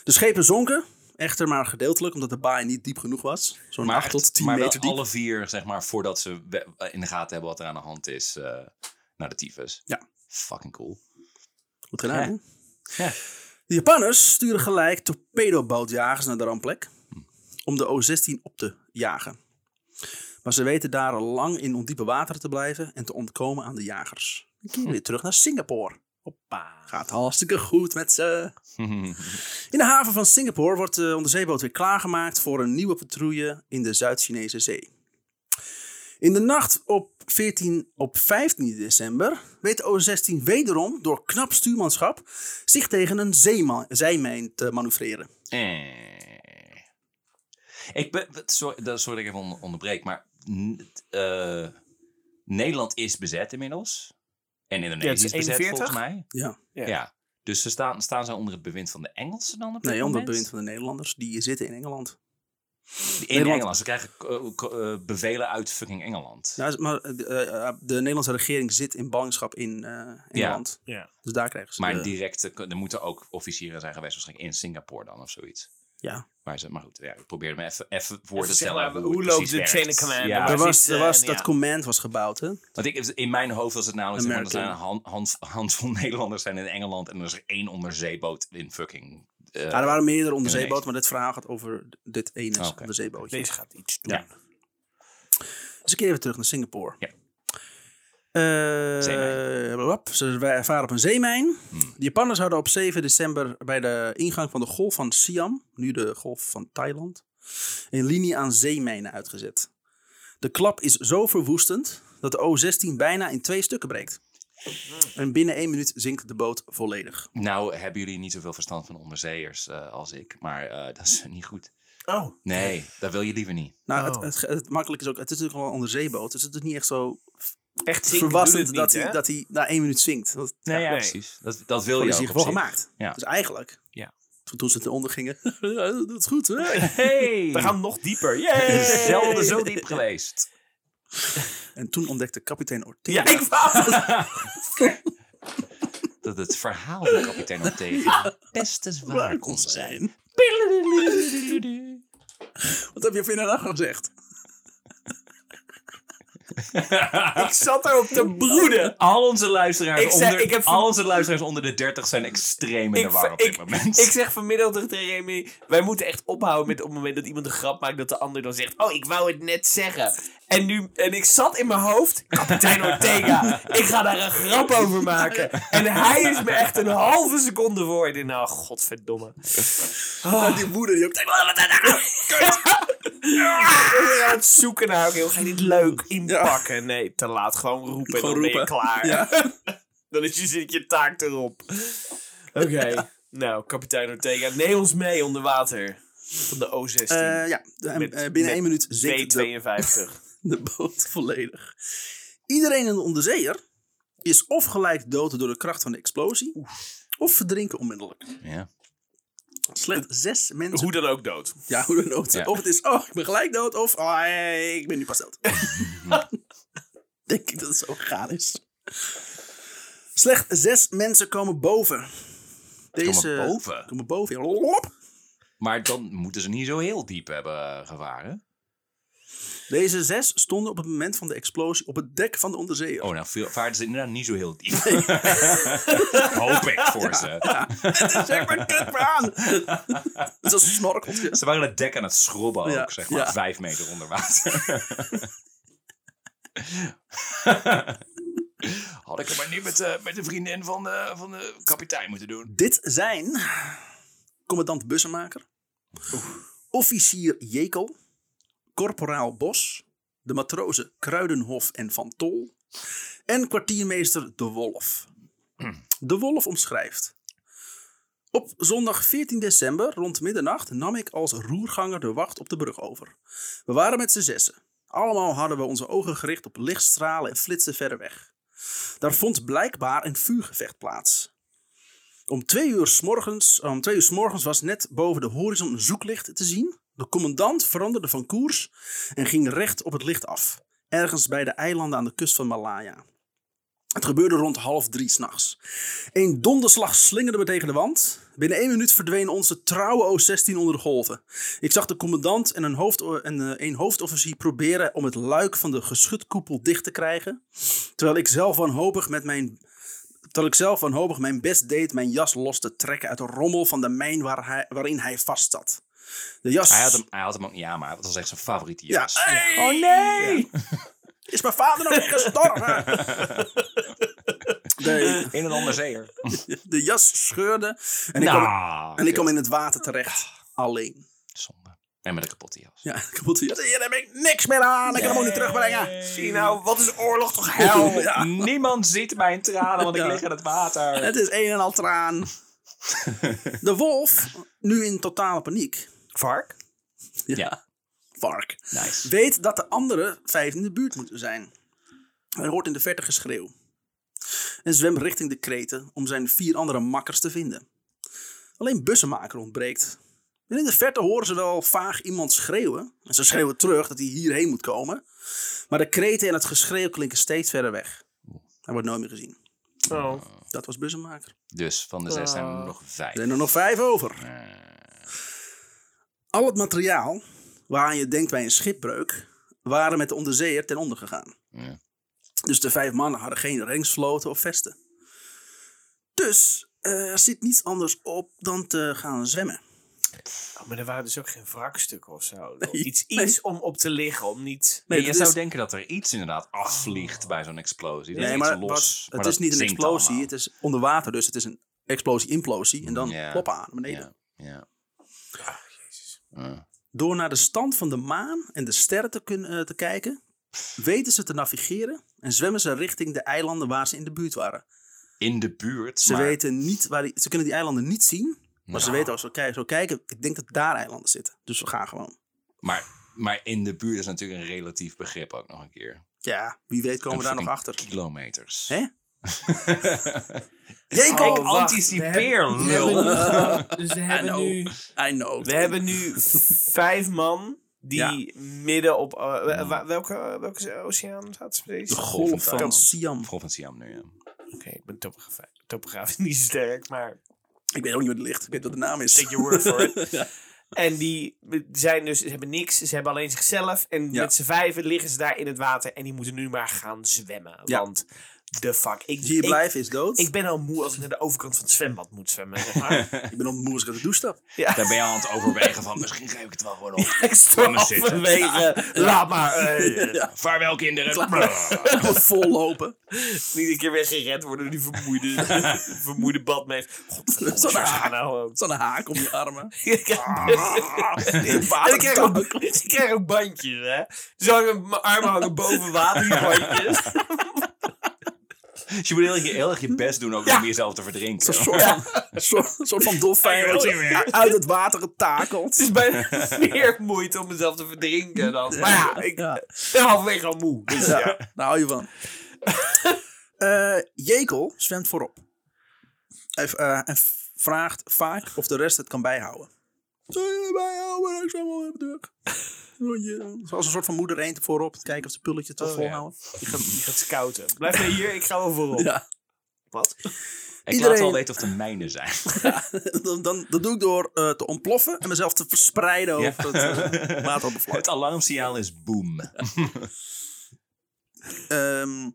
De schepen zonken, echter maar gedeeltelijk, omdat de baai niet diep genoeg was. Zo'n 8 tot 10 maar wel meter diep. alle vier, zeg maar, voordat ze we- in de gaten hebben wat er aan de hand is, eh, naar de tyfus. Ja. Fucking cool. Goed gedaan, Ja. hè? Ja. De Japanners sturen gelijk torpedobootjagers naar de rampplek om de O-16 op te jagen. Maar ze weten daar lang in ondiepe wateren te blijven en te ontkomen aan de jagers. Dan keren we Hm. weer terug naar Singapore. Hoppa. Gaat hartstikke goed met ze. In de haven van Singapore wordt de onderzeeboot weer klaargemaakt voor een nieuwe patrouille in de Zuid-Chinese zee. In de nacht op 14 op 15 december weet de O-16 wederom door knap stuurmanschap zich tegen een zeema- zijmijn te manoeuvreren. Eh. Ik ben, wat- sorry, dat- sorry dat ik even on- onderbreek, maar n- eh, Nederland is bezet inmiddels. En Indonesië Ja, het is is bezet 41. volgens mij. Ja. Ja. Ja. Dus ze staan, staan ze onder het bewind van de Engelsen dan op dit Nee, onder het moment? bewind van de Nederlanders, die zitten in Engeland. In Nederland. Engeland. Ze krijgen eh, ko- eh, bevelen uit fucking Engeland. Ja, maar eh, eh, de Nederlandse regering zit in ballingschap in eh, Engeland. Ja. Dus daar krijgen ze. maar de- een directe, er moeten ook officieren zijn geweest waarschijnlijk in Singapore dan of zoiets. ja. Maar, ze, maar goed, ja, ik probeer me even, even voor Even te zeg stellen maar, het hoe precies loopt de werkt. chain of command? Ja, Er Daar was, zit, er eh, was, ja. dat command was gebouwd, hè? Want ik, in mijn hoofd was het namelijk zeg maar, er zijn een American. hand, hand, handvol Nederlanders zijn in Engeland en er is er één onderzeeboot in fucking. eh, Ja, er waren meerdere Indonesië. onderzeeboten, maar dit verhaal gaat over dit ene Oh, Oké. onderzeebootje. Deze gaat iets doen. Ja. Dus ik keer even terug naar Singapore. Ja. Eh, Zeemijn. Hmm. blablab. ze wij varen op een zeemijn. De Japanners hadden op 7 december bij de ingang van de golf van Siam, nu de golf van Thailand, een linie aan zeemijnen uitgezet. De klap is zo verwoestend dat de O-16 bijna in twee stukken breekt. En binnen één minuut zinkt de boot volledig. Nou hebben jullie niet zoveel verstand van onderzeeërs eh, als ik, maar eh, dat is niet goed. Oh. Nee, dat wil je liever niet. Nou, Oh. het, het, het makkelijke is ook, het is natuurlijk wel een onderzeeboot, dus het is niet echt zo Echt verrassend dat, hij, hij dat hij na één minuut zinkt. Dat, Nee, ja, nee. precies. Dat, dat wil Voor je is ook hij op gewoon zich. gemaakt. Ja. Dus eigenlijk. Ja. Toen- Toen ze ten onder gingen. ja, dat is goed, hè? Hey! We gaan nog dieper. Yay! Zelden zo diep geweest. En toen ontdekte kapitein Ortega... Ja, ik wou het. Dat het verhaal van kapitein Ortega best eens waar kon zijn. Wat heb je vandaag gezegd? Ik zat erop te broeden. Al onze luisteraars, Ik zei- onder, ik heb ver- al onze luisteraars onder de 30 zijn extreem in de Ik, war op dit ik, moment. ik zeg vanmiddag tegen Remy, wij moeten echt ophouden met op het moment dat iemand een grap maakt, dat de ander dan zegt, oh, ik wou het net zeggen. En, nu, en ik zat in mijn hoofd, kapitein Ortega, ik ga daar een grap over maken. En hij is me echt een halve seconde voor. Ik dacht, nou, godverdomme. Oh, die woede. Die ook... Ik ben aan het zoeken naar, oké, hoe ga je dit leuk inpakken? Nee, te laat. Gewoon roepen Gewoon en dan roepen. ben je klaar. Ja. Dan is je, zit je taak erop. Oké. Nou, kapitein Ortega, neem ons mee onder water. Van de O16. Eh, ja, en, Met- eh, binnen met één minuut zinkt de B52. de boot volledig. Iedereen in de onderzeeër is of gelijk dood door de kracht van de explosie, of verdrinken onmiddellijk. Ja. Slechts zes mensen. Hoe dan ook dood. Ja, hoe dan ook. Ja. Of het is, oh, ik ben gelijk dood, of oh, hey, ik ben nu pas dood. Denk ik dat het zo gaar is. Slechts zes mensen komen boven. Deze Komen boven? Komen boven. ja. Lop. Maar dan moeten ze niet zo heel diep hebben eh, gevaren. Deze zes stonden op het moment van de explosie op het dek van de onderzeeër. Oh, nou veel- vaarden ze inderdaad niet zo heel diep. Hoop ik voor ze. Het is zeg maar kut maar aan. Het is als een snorkeltje. Ze waren het dek aan het schrobben ook, Ja, zeg maar. ja. Vijf meter onder water. Had ik het maar niet met, eh, met de vriendin van de, van de kapitein moeten doen. Dit zijn commandant Bussemaker, officier Jekel, korporaal Bos, de matrozen Kruidenhof en Van Tol en kwartiermeester De Wolf. De Wolf omschrijft. Op zondag 14 december rond middernacht nam ik als roerganger de wacht op de brug over. We waren met z'n zessen. Allemaal hadden we onze ogen gericht op lichtstralen en flitsen verder weg. Daar vond blijkbaar een vuurgevecht plaats. Om twee uur s morgens, om twee uur s morgens was net boven de horizon een zoeklicht te zien. De commandant veranderde van koers en ging recht op het licht af. Ergens bij de eilanden aan de kust van Malaya. Het gebeurde rond half drie s'nachts. Een donderslag slingerde me tegen de wand. Binnen één minuut verdween onze trouwe O16 onder de golven. Ik zag de commandant en een, hoofd, en eh, een hoofdofficier proberen om het luik van de geschutkoepel dicht te krijgen. Terwijl ik zelf wanhopig met mijn Terwijl ik zelf wanhopig mijn best deed mijn jas los te trekken uit de rommel van de mijn waar hij, waarin hij vast zat. De jas Hij had hem, hij had hem ook niet aan, maar dat was echt zijn favoriete Ja. jas. Oh nee! is mijn vader nog niet gestorven. De, In een onderzeeër. de jas scheurde en ik, kwam, Nou, en ik kwam in het water terecht. Alleen. zonde. En met een kapotte jas. Ja, kapotte jas. Hier heb ik niks meer aan. Ik kan hem ook niet terugbrengen. Zie je nou, wat is oorlog toch hel? Ja. Niemand ziet mijn tranen, want ik lig in het water. Het is een en al traan. De wolf, nu in totale paniek, Vark? Ja, vark, nice. weet dat de andere vijf in de buurt moeten zijn. Hij hoort in de verte geschreeuw. En zwemt richting de kreten om zijn vier andere makkers te vinden. Alleen bussenmaker ontbreekt. En in de verte horen ze wel vaag iemand schreeuwen. En ze schreeuwen terug dat hij hierheen moet komen. Maar de kreten en het geschreeuw klinken steeds verder weg. Hij wordt nooit meer gezien. Oh. Dat was bussenmaker. Dus van de zes zijn er Oh. nog Er vijf. zijn er nog vijf over. Eh. Al het materiaal waaraan je denkt bij een schipbreuk, waren met de onderzeeër ten onder gegaan. Ja. Dus de vijf mannen hadden geen reddingsvloten of vesten. Dus eh, er zit niets anders op dan te gaan zwemmen. Oh, maar er waren dus ook geen wrakstukken of zo. Iets, nee. iets om op te liggen, om niet... Nee, je dat zou is- denken dat er iets inderdaad afvliegt bij zo'n explosie. Dat Nee, is maar iets los. wat- maar het is dat niet een zinkt explosie, allemaal. het is onder water, dus het is een explosie-implosie. En dan Ja. ploppen aan naar beneden. Ja, ja. Door naar de stand van de maan en de sterren te, kunnen, eh, te kijken, weten ze te navigeren en zwemmen ze richting de eilanden waar ze in de buurt waren. In de buurt, Ze, maar weten niet waar die, ze kunnen die eilanden niet zien, maar ze Nou. Ja. weten als we kijken, zo kijken, ik denk dat daar eilanden zitten. Dus we gaan gewoon. Maar, maar in de buurt is natuurlijk een relatief begrip ook nog een keer. Ja, wie weet komen we Een daar nog fucking achter. Kilometers. Hè? Jacob! Oh, Ik wacht, anticipeer, we lul. hebben nu- dus we I hebben know. nu, I know. we hebben nu vijf man die Ja. midden op... eh, wa- wa- welke, welke oceaan zaten ze De precies? Oké, golf van Golf. Siam. Golf van Siam nu, ja. ik ben topograaf, topografisch niet zo sterk, maar Ik weet ook niet wat het ligt. Ik weet wat de naam is. take your word for it. En die zijn dus, ze hebben niks, ze hebben alleen zichzelf. En Ja. met z'n vijven liggen ze daar in het water en die moeten nu maar gaan zwemmen. Ja. Want de fuck, ik, Hier ik, blijven is dood. ik ben al moe als ik naar de overkant van het zwembad moet zwemmen. Zeg maar. Ik ben op moe als ik uit de douche stap. ja. Daar ben je aan het overwegen van, misschien geef ik het wel gewoon op. Ik sta me zitten. halverwege. Laat maar. eh, Vaarwel kinderen. Vol lopen. eh, Niet een keer weer gered worden door die vermoeide, vermoeide badmeester. Godverdomme, Zo'n Sjoerd, haak. ga nou ook. Zo'n haak om je armen. Ik Ah. krijg- En ik krijg ook- ik krijg ook bandjes, hè. Dus hangen, mijn armen hangen boven water, die bandjes. Dus je moet heel, erg- heel erg je best doen ook Ja. om jezelf te verdrinken. Een soort van, een soort, een soort van dolfijn wordt uit het water getakeld. Het is bijna meer moeite om mezelf te verdrinken dan. Maar ja, ik Ja. ben halverwege al moe. Dus Ja, ja. daar hou je van. Eh, Jekel zwemt voorop. Hij, eh, en vraagt vaak of de rest het kan bijhouden. Zou je bijhouden? Ik zwem wel even terug. Rondje. Zoals een soort van moeder eend voorop. Kijken of de pulletje het wel Oh, ja. volhouden. Je, gaat, je gaat scouten. Blijf jij hier, ik ga wel voorop. Ja. Wat? Ik laat Iedereen- wel weten of de mijnen zijn. dan, dan, dat doe ik door eh, te ontploffen en mezelf te Oh, verspreiden Ja. over het eh, wateroppervlak. Het alarmsignaal is boom. Ehm,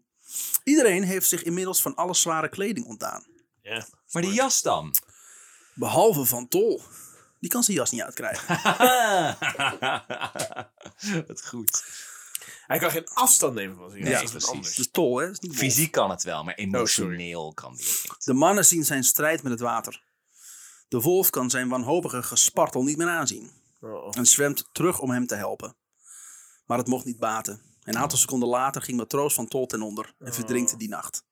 iedereen heeft zich inmiddels van alle zware kleding ontdaan. Ja. Maar die jas dan? Behalve van Tol. Die kan zijn jas niet uitkrijgen. Wat goed. Hij kan geen afstand nemen van zijn Nee, jas, dat is wat precies. anders. Dus Tol, hè? is niet Wolf. Fysiek kan het wel, maar Oh, emotioneel kan die het niet. De mannen zien zijn strijd met het water. De wolf kan zijn wanhopige gespartel niet meer aanzien Oh. en zwemt terug om hem te helpen. Maar het mocht niet baten. Een aantal seconden later ging matroos van Tol ten onder en verdrinkte die nacht.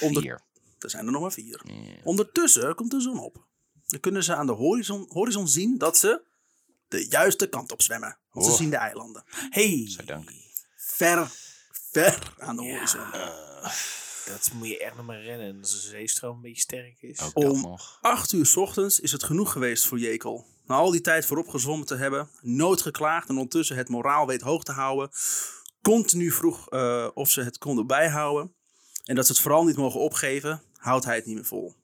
Onder- Oh. Vier. Er zijn er nog maar vier. Ja. Ondertussen komt de zon op. Dan kunnen ze aan de horizon, horizon zien dat ze de juiste kant op zwemmen. Want ze Oh. zien de eilanden. Hey, Zo dank. Ver, ver aan Oh, de horizon. dat moet je echt nog maar rennen als de zeestroom een beetje sterk is. Ook dat Om- nog. Acht uur 's ochtends is het genoeg geweest voor Jekel. Na al die tijd voorop gezwommen te hebben, nooit geklaagd en ondertussen het moraal weet hoog te houden, continu vroeg eh, of ze het konden bijhouden en dat ze het vooral niet mogen opgeven, houdt hij het niet meer vol.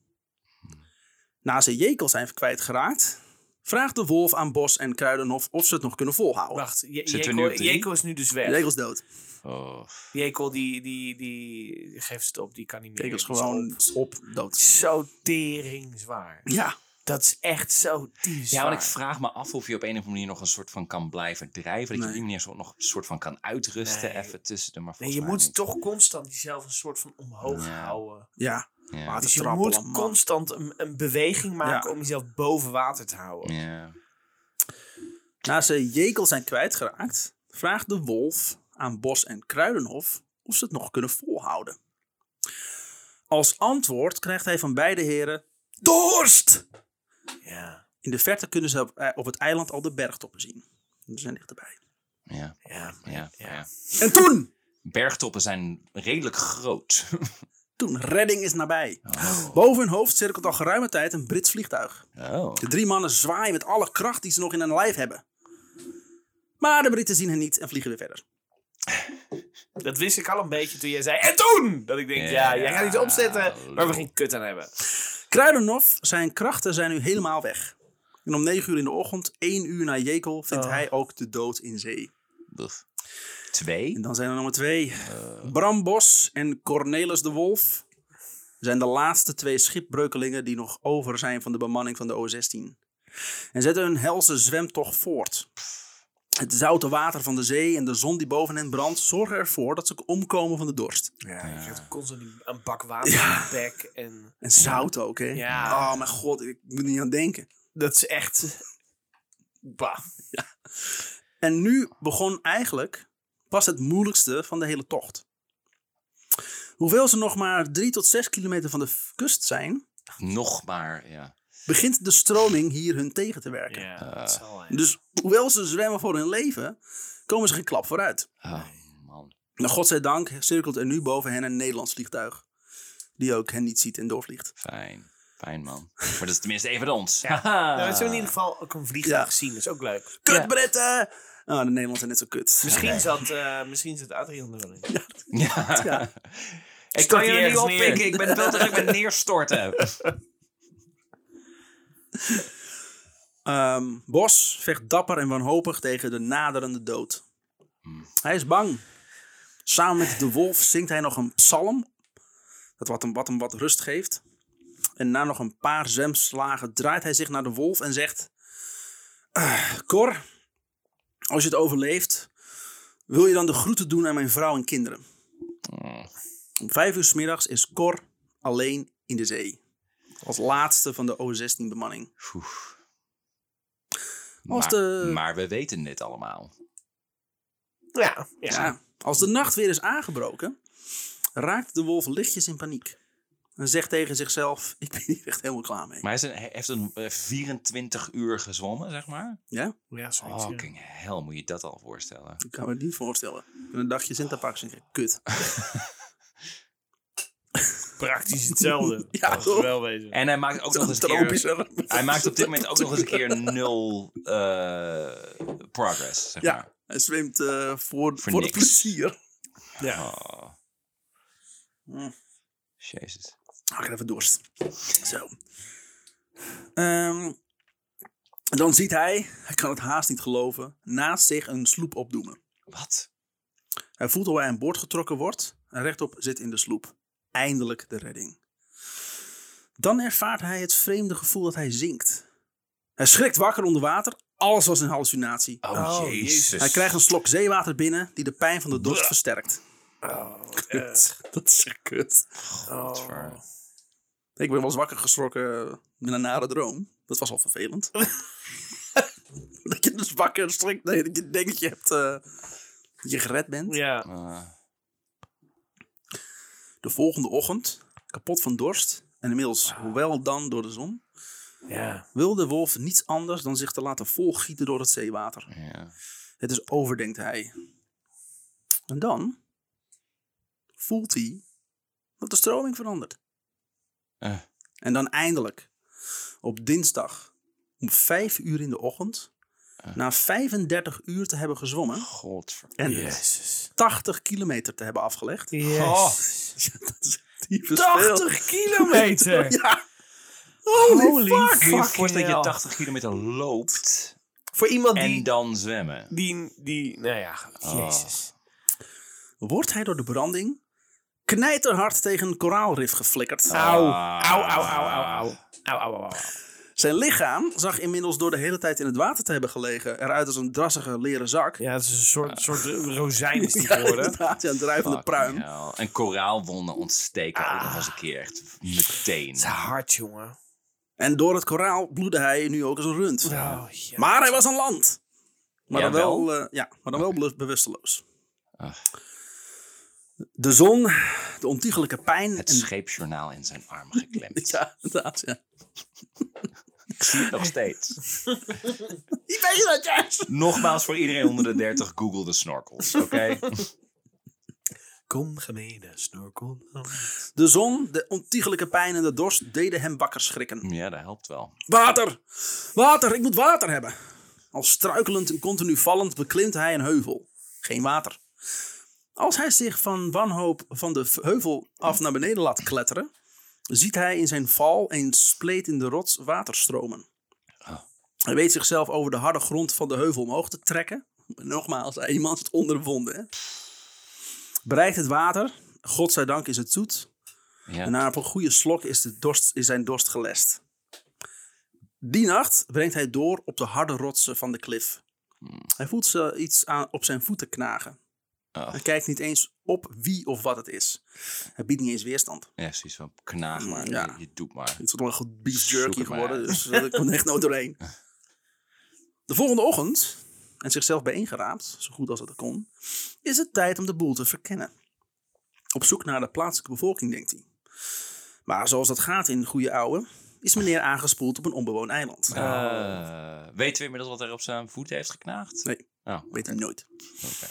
Na ze Jekel zijn kwijtgeraakt, vraagt de wolf aan Bos en Kruidenhof of ze het nog kunnen volhouden. Wacht, Je- Zitten we Jeko nu op drie? Jeko is nu dus weg. Jekel is dood. Oh. Jeko die, die, die geeft het op, die kan niet meer. Jekel is Die is gewoon op. op dood. Zo tering zwaar. Ja, Dat is echt zo diep Ja, zwaar. want ik vraag me af of je op een of andere manier nog een soort van kan blijven drijven. Dat je op Nee. die manier zo- nog een soort van kan uitrusten. Nee. Even tussen de maar nee, je volgens moet mij niet. toch constant jezelf een soort van omhoog Ja. houden. ja. Ja. Maar het Dus is je trappelen, moet man. constant een, een beweging maken om jezelf boven water te houden. Ja. Na ze Jekel zijn kwijtgeraakt, vraagt de wolf aan Bos en Kruidenhof of ze het nog kunnen volhouden. Als antwoord krijgt hij van beide heren dorst! Ja, In de verte kunnen ze op, eh, op het eiland al de bergtoppen zien. Ze zijn dichterbij. Ja. ja, Ja. Ja. ja. En toen! Bergtoppen zijn redelijk groot. Toen, redding is nabij. Boven hun hoofd cirkelt al geruime tijd een Brits vliegtuig. Oh. De drie mannen zwaaien met alle kracht die ze nog in hun lijf hebben. Maar de Britten zien hen niet en vliegen weer verder. Dat wist ik al een beetje toen jij zei. En toen! Dat ik denk, ja, Ja, jij gaat iets opzetten waar we lul. geen kut aan hebben. Kruidenhof, zijn krachten zijn nu helemaal weg. En om 9 uur in de ochtend, 1 uur na Jekel, vindt Oh. hij ook de dood in zee. Buf. Twee? En dan zijn er nummer twee. Bram Bos en Cornelis de Wolf zijn de laatste twee schipbreukelingen die nog over zijn van de bemanning van de O16. En zetten hun helse zwemtocht voort. Het zoute water van de zee en de zon die boven hen brandt zorgen ervoor dat ze omkomen van de dorst. Ja, je krijgt constant die- een bak water in je bek. En En zout ook, hè? Ja. Oh, mijn god, ik moet er niet aan denken. dat is echt... Bah. En nu begon eigenlijk pas het moeilijkste van de hele tocht. Hoewel ze nog maar 3 tot 6 kilometer van de f- kust zijn, Nog maar, ja. begint de stroming hier hun tegen te werken. Ja, dat zal wel. Dus hoewel ze zwemmen voor hun leven, komen ze geen klap vooruit. Oh, man. Nou, godzijdank cirkelt er nu boven hen een Nederlands vliegtuig. Die ook hen niet ziet en doorvliegt. Fijn. Fijn, man. Maar dat is tenminste even ons. Nou, het is in ieder geval ook een vliegtuig zien. Dat is ook leuk. Kut, Britten! Ah, de Nederlanders zijn net zo kut. Misschien, zat, eh misschien zat Adrian er wel in. Ja. Ja. Ik Stort kan je die er niet ergens oppikken. neer. Ik ben wel druk met neerstorten. Ehm, Bos vecht dapper en wanhopig tegen de naderende dood. Hij is bang. Samen met de wolf zingt hij nog een psalm. Dat wat hem wat, hem wat rust geeft. En na nog een paar zemslagen draait hij zich naar de wolf en zegt... "Ah, Cor, als je het overleeft, wil je dan de groeten doen aan mijn vrouw en kinderen? Om vijf uur 's middags is Cor alleen in de zee. Als laatste van de O16-bemanning. Oef. Als Maar, de- maar we weten dit allemaal. Ja, ja. Ja, als de nacht weer is aangebroken, raakt de wolf lichtjes in paniek. En zegt tegen zichzelf, ik ben hier echt helemaal klaar mee. Maar hij, is een- hij heeft een eh, 24 uur gezwommen, zeg maar. Ja, Ja, zoiets, ja. Fucking hell, moet je dat al voorstellen. ik kan me het niet voorstellen. Ik ben een dagje Sinterpax en ik denk, kut. Praktisch hetzelfde. Ja, Laten we toch? wel wezen. En hij maakt ook nog eens een keer... Tropischer. Hij maakt op dit moment ook nog eens een keer nul eh, progress, zeg Ja, maar. hij zwemt eh, voor, voor, het niks. plezier. Ja. Oh. Mm. Jezus. Ah, ik heb even dorst. Zo. Ehm, dan ziet hij, hij kan het haast niet geloven, naast zich een sloep opdoemen. Wat? Hij voelt hoe hij aan boord getrokken wordt en rechtop zit in de sloep. Eindelijk de redding. Dan ervaart hij het vreemde gevoel dat hij zinkt. Hij schrikt wakker onder water. Alles was een hallucinatie. Oh, Oh, jezus. jezus. Hij krijgt een slok zeewater binnen die de pijn van de dorst versterkt. Oh, wat erg. Kut. Dat is echt kut. Godver. Oh. Ik ben wel eens wakker geschrokken met een nare droom. Dat was al vervelend. dat je dus wakker schrikt. Nee, dat je denkt dat je, hebt, eh, dat je gered bent. Ja. Eh, De volgende ochtend, kapot van dorst en inmiddels, hoewel dan door de zon, ja. wil de wolf niets anders dan zich te laten volgieten door het zeewater. ja. Het is over, denkt hij. En dan voelt hij dat de stroming verandert. Eh. En dan eindelijk, op dinsdag, om vijf uur in de ochtend, na 35 uur te hebben gezwommen Godver. en Jezus. Oh. 80 kilometer te hebben afgelegd. Yes. Ja, dat is typisch veel. 80 kilometer! Ja. Holy, Holy fuck. Kun je je Fucking voorstellen dat je hell. 80 kilometer loopt Voor iemand en die, dan zwemmen? die, die... Nou ja, jezus. Wordt hij door de branding knijterhard tegen een koraalrif geflikkerd. Auw. Auw, auw, auw, auw, auw. Auw, auw, auw, auw. Zijn lichaam zag inmiddels door de hele tijd in het water te hebben gelegen eruit als een drassige leren zak. Ja, het is een soort, soort eh, rozijn is die geworden. inderdaad, ja, een drijvende Fucking pruim. Ah. hell. En koraalwonden ontsteken ook nog eens een keer echt meteen. Het is hard, jongen. En door het koraal bloedde hij nu ook als een rund. Oh, ja. Maar hij was aan land. Maar dan wel, Jawel. eh, ja, maar dan wel belu- bewusteloos. Ach. De zon, de ontiegelijke pijn. Het en- scheepsjournaal in zijn arm geklemd. ja, inderdaad, ja. Ik zie het nog steeds. Ik weet je dat, juist? Nogmaals voor iedereen onder de 30, google de snorkels, oké? Kom, gemene snorkel. De zon, de ontiegelijke pijn en de dorst deden hem wakker schrikken. Ja, dat helpt wel. Water! Water! Ik moet water hebben! Al struikelend en continu vallend beklimt hij een heuvel. Geen water. Als hij zich van wanhoop van de v- heuvel af naar beneden laat kletteren, ziet hij in zijn val een spleet in de rots water stromen. Ah. Hij weet zichzelf over de harde grond van de heuvel omhoog te trekken. Nogmaals, hij iemand het ondervonden. Hè? Bereikt het water, godzijdank is het zoet. Ja. En na een goede slok is, de dorst, is zijn dorst gelest. Die nacht brengt hij door op de harde rotsen van de klif. Hmm. Hij voelt ze iets aan, op zijn voeten knagen. Oh. Hij kijkt niet eens op wie of wat het is. Hij biedt niet eens weerstand. ja, precies. Van knaag maar. Ja. Je, je doet maar. Het is wel een goed beef Zoek jerky het maar geworden, uit. dus eh, ik kon er echt nooit doorheen. De volgende ochtend, en zichzelf bijeengeraapt, zo goed als dat kon, is het tijd om de boel te verkennen. Op zoek naar de plaatselijke bevolking, denkt hij. Maar zoals dat gaat in goede ouwe, is meneer aangespoeld op een onbewoond eiland. Eh, weten we inmiddels wat er op zijn voeten heeft geknaagd? Nee. Oh, Weet hij nooit. oké.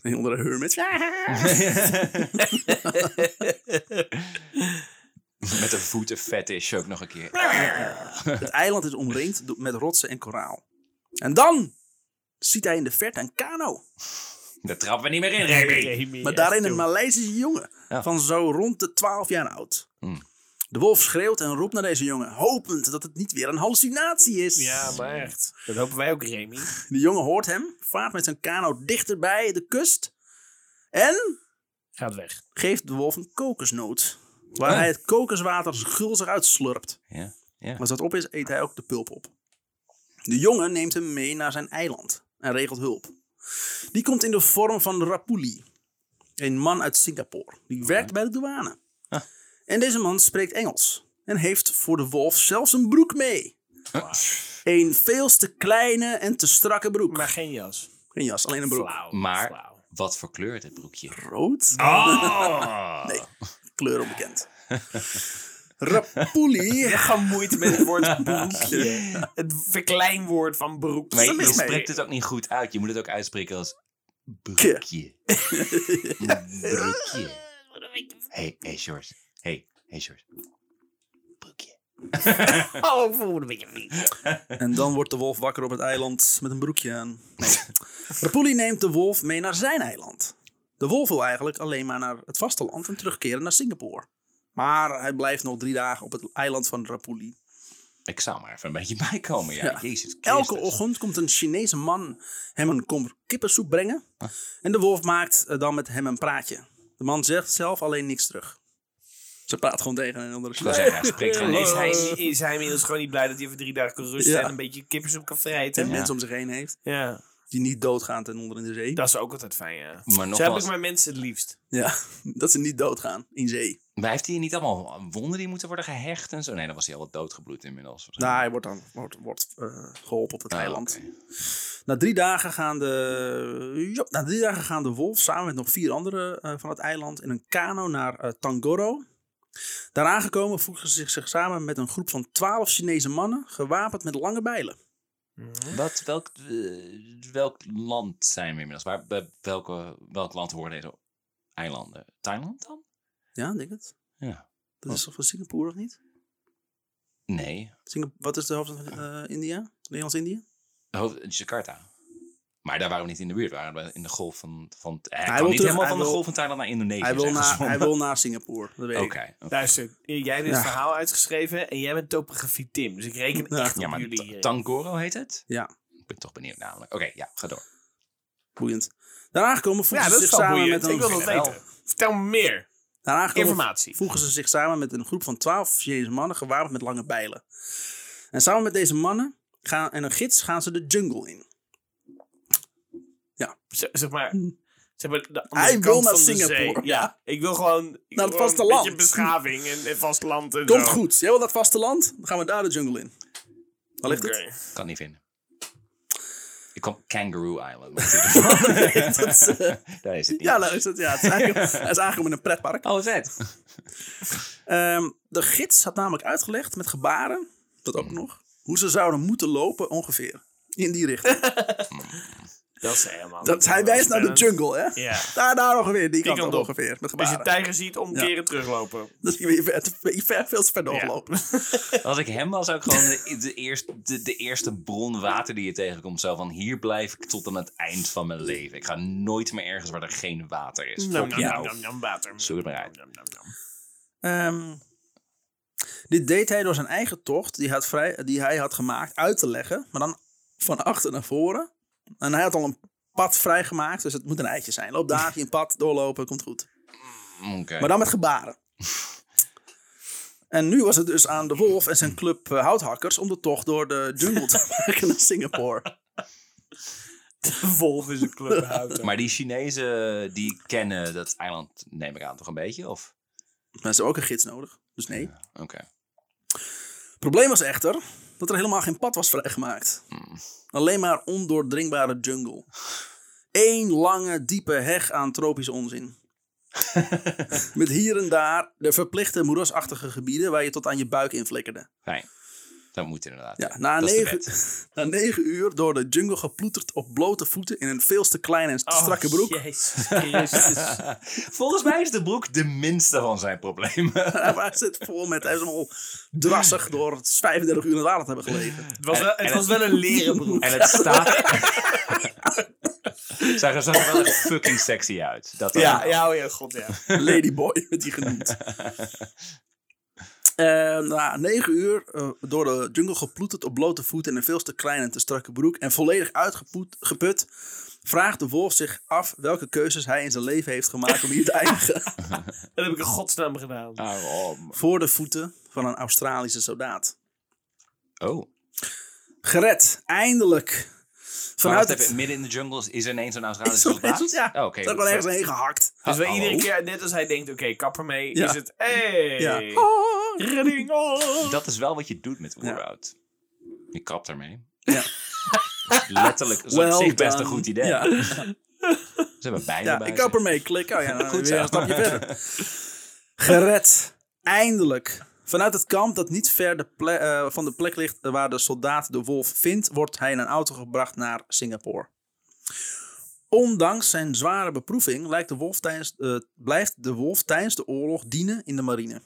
Een andere hermit. Met een voeten fetish ook nog een keer. Het eiland is omringd do- met rotsen en koraal. En dan ziet hij in de verte een kano. Daar trappen we niet meer in, Remy. Maar daarin een Maleisische jongen Ja. van zo rond de 12 jaar oud. Hmm. De wolf schreeuwt en roept naar deze jongen, hopend dat het niet weer een hallucinatie is. Ja, maar echt. Dat hopen wij ook, Remy. De jongen hoort hem, vaart met zijn kano dichterbij de kust en Gaat weg. geeft de wolf een kokosnoot. Waar Ah. hij het kokoswater gulzig uitslurpt. Ja, ja. Als dat op is, eet hij ook de pulp op. De jongen neemt hem mee naar zijn eiland en regelt hulp. Die komt in de vorm van Rapuli, een man uit Singapore. Die werkt bij de douane. Ah. En deze man spreekt Engels en heeft voor de wolf zelfs een broek mee. Een veel te kleine en te strakke broek. Maar geen jas. Geen jas, alleen een broek. Flauw. Maar- Flauw. Wat voor kleur dit broekje? Rood? Oh! Kleur onbekend. Rapuli. Je hebt gewoon moeite met het woord broekje. Het verkleinwoord van broek. Maar Wat is er je, je mis mee? spreekt het ook niet goed uit. Je moet het ook uitspreken als broekje. broekje. Hey, hey, George. Hey, hey, George. Broekje. Oh, ik voel me een beetje vies. En dan wordt de wolf wakker op het eiland met een broekje aan. Nee. Rapuli neemt de wolf mee naar zijn eiland. De wolf wil eigenlijk alleen maar naar het vasteland en terugkeren naar Singapore. Maar hij blijft nog drie dagen op het eiland van Rapuli. Ik zou maar even een beetje bijkomen, ja. Ja. Jezus Elke Christus. ochtend komt een Chinese man hem een kom kippensoep brengen. Ah. En de wolf maakt eh, dan met hem een praatje. De man zegt zelf alleen niks terug. Ze praat gewoon tegen een andere Ik wil Chinees. zeggen, hij spreekt geen Is Nederlands. hij, is hij inmiddels gewoon niet blij dat hij even drie dagen kan rusten Ja. en een beetje kippensoep kan En vrijten? Ja. mensen om zich heen heeft. Die niet doodgaan ten onder in de zee. dat is ook altijd fijn, ja. Maar Zo heb ik nogmaals, mijn mensen het liefst. Ja, dat ze niet doodgaan in zee. maar heeft hij niet allemaal wonden die moeten worden gehecht en zo? Nee, dan was hij al wat doodgebloed inmiddels. Nou, hij wordt dan wordt, wordt, eh, geholpen op het Ah, eiland. oké. Na, drie dagen gaan de, ja, na drie dagen gaan de wolf samen met nog vier anderen eh, van het eiland in een kano naar eh, Tangoro. Daar aangekomen voegen ze zich, zich samen met een groep van twaalf Chinese mannen, gewapend met lange bijlen. Wat, welk, eh, welk land zijn we inmiddels? Waar, bij welke, welk land horen deze eilanden? Thailand dan? Ja, ik denk het. Ja. Oh. Dat is toch van Singapore of niet? Nee, Singap- wat is de hoofdstad van eh, India? Nederlands-Indië? hoofd- Oh, Jakarta. Maar daar waren we niet in de buurt, we waren we in de golf van... van hij wil kwam niet terug, helemaal hij van de wil- golf van Thailand naar Indonesië. Hij wil, zijn naar, hij gezwommen. wil naar Singapore, dat weet Oké. ik. oké. Luister, jij hebt dit Ja. verhaal uitgeschreven en jij bent topografie Tim. Dus ik reken Ja. echt Ja, op maar jullie. eh. Ta- hier. Tangoro heet het? eh, Ja. Ik ben toch benieuwd namelijk. Oké, ja, ga door. Boeiend. Daar aangekomen ja, voegen ze dat is zich wel samen boeiend. met Ik een... wil dat Jawel. weten. Vertel me meer Daar aangekomen informatie. voegen ze zich samen met een groep van twaalf Chinese mannen gewapend met lange bijlen. En samen met deze mannen gaan, en een gids gaan ze de jungle in. Z- zeg maar, Hm. zeg maar de andere Hij kant wil naar van de Singapore. zee. Ja, ik wil gewoon, ik Naar wil het gewoon een beetje vasteland. beschaving en, en vasteland en Komt zo. goed, jij wil dat vasteland? Dan gaan we daar de jungle in. Waar ligt Oké. het? Kan niet vinden. Ik kwam Kangaroo Island. Dat is, eh, daar is het niet. ja, nou is het, ja, het is eigenlijk, het is eigenlijk een pretpark. Oh, vet. Ehm, de gids had namelijk uitgelegd met gebaren, dat ook nog, hoe ze zouden moeten lopen ongeveer. In die richting. Dat is helemaal Dat, hij wijst naar de jungle, hè? Ja. Daar, daar ongeveer, die kant, kant op op. ongeveer. Met Als je gebaren. tijger ziet, omkeren, teruglopen. Dus je weer ver, je ver, veel te ver Ja. doorlopen. Als ik hem was, ook gewoon de, de, eerste, de, de eerste bron water die je tegenkomt. Zo van, hier blijf ik tot aan het eind van mijn leven. Ik ga nooit meer ergens waar er geen water is. Nou, Nam, Fuck nam, nam, jou. nam, nam, water. Zoek het maar uit. Nam, nam, nam. Ehm, dit deed hij door zijn eigen tocht, die, had vrij, die hij had gemaakt, uit te leggen. Maar dan van achter naar voren. En hij had al een pad vrijgemaakt, dus het moet een eitje zijn. Loop daar, heb je een pad, doorlopen, komt goed. Oké. nou. Maar dan met gebaren. En nu was het dus aan de wolf en zijn club eh, houthakkers om de tocht door de jungle te maken naar Singapore. De wolf is een clubhouder. Maar die Chinezen, die kennen dat eiland, neem ik aan, toch een beetje? Of? Maar ze hebben ook een gids nodig, dus nee. Oké. Het probleem was echter dat er helemaal geen pad was vrijgemaakt. Alleen maar ondoordringbare jungle. Eén lange, diepe heg aan tropische onzin. Met hier en daar de verplichte moerasachtige gebieden waar je tot aan je buik in flikkerde. Fijn. Dat moet inderdaad. Ja, na, dat is de negen, na negen uur door de jungle geploeterd op blote voeten in een veel te kleine en te Oh, strakke broek. Oh, Jezus Christus. Volgens mij is de broek de minste van zijn problemen. Hij was het vol met, hij is allemaal drassig door 35 uur in het water te hebben gelegen. Het was, En- wel, het en was wel een leren broek. En het staat. Zij zag er wel echt fucking sexy uit. Dat dan Ja, wel. ja, oh ja, god ja. Ladyboy werd hij genoemd. Eh, na negen uur eh, door de jungle geploeterd op blote voeten in een veel te kleine en te strakke broek en volledig uitgeput, vraagt de wolf zich af welke keuzes hij in zijn leven heeft gemaakt om hier te eindigen. Dat heb ik in godsnaam Ah, gedaan. Waarom? Voor de voeten van een Australische soldaat. Oh. Gered, eindelijk. Vanuit Vanuit het... midden in de jungles is er ineens een Is Australische zo- soldaat. Ja, Oh, dat er wel ergens heen gehakt. Dus wij Hallo? iedere keer, net als hij denkt, oké, kapper mee, oh. Ja. is het, hey, Ja. redding, oh. Dat is wel wat je doet met Ja. oerwoud. Je kapt ermee. Ja. Letterlijk. Dat is Well op zich best done. een goed idee. Ja. Ze hebben bijna Ja, bij ik zich. kap ermee. Klik. Oh ja, dan Goed weer zo. een stapje verder. Gered. Eindelijk. Vanuit het kamp dat niet ver de ple- eh, van de plek ligt waar de soldaat de wolf vindt, wordt hij in een auto gebracht naar Singapore. Ondanks zijn zware beproeving lijkt de wolf tijdens, eh, blijft de wolf tijdens de oorlog dienen in de marine.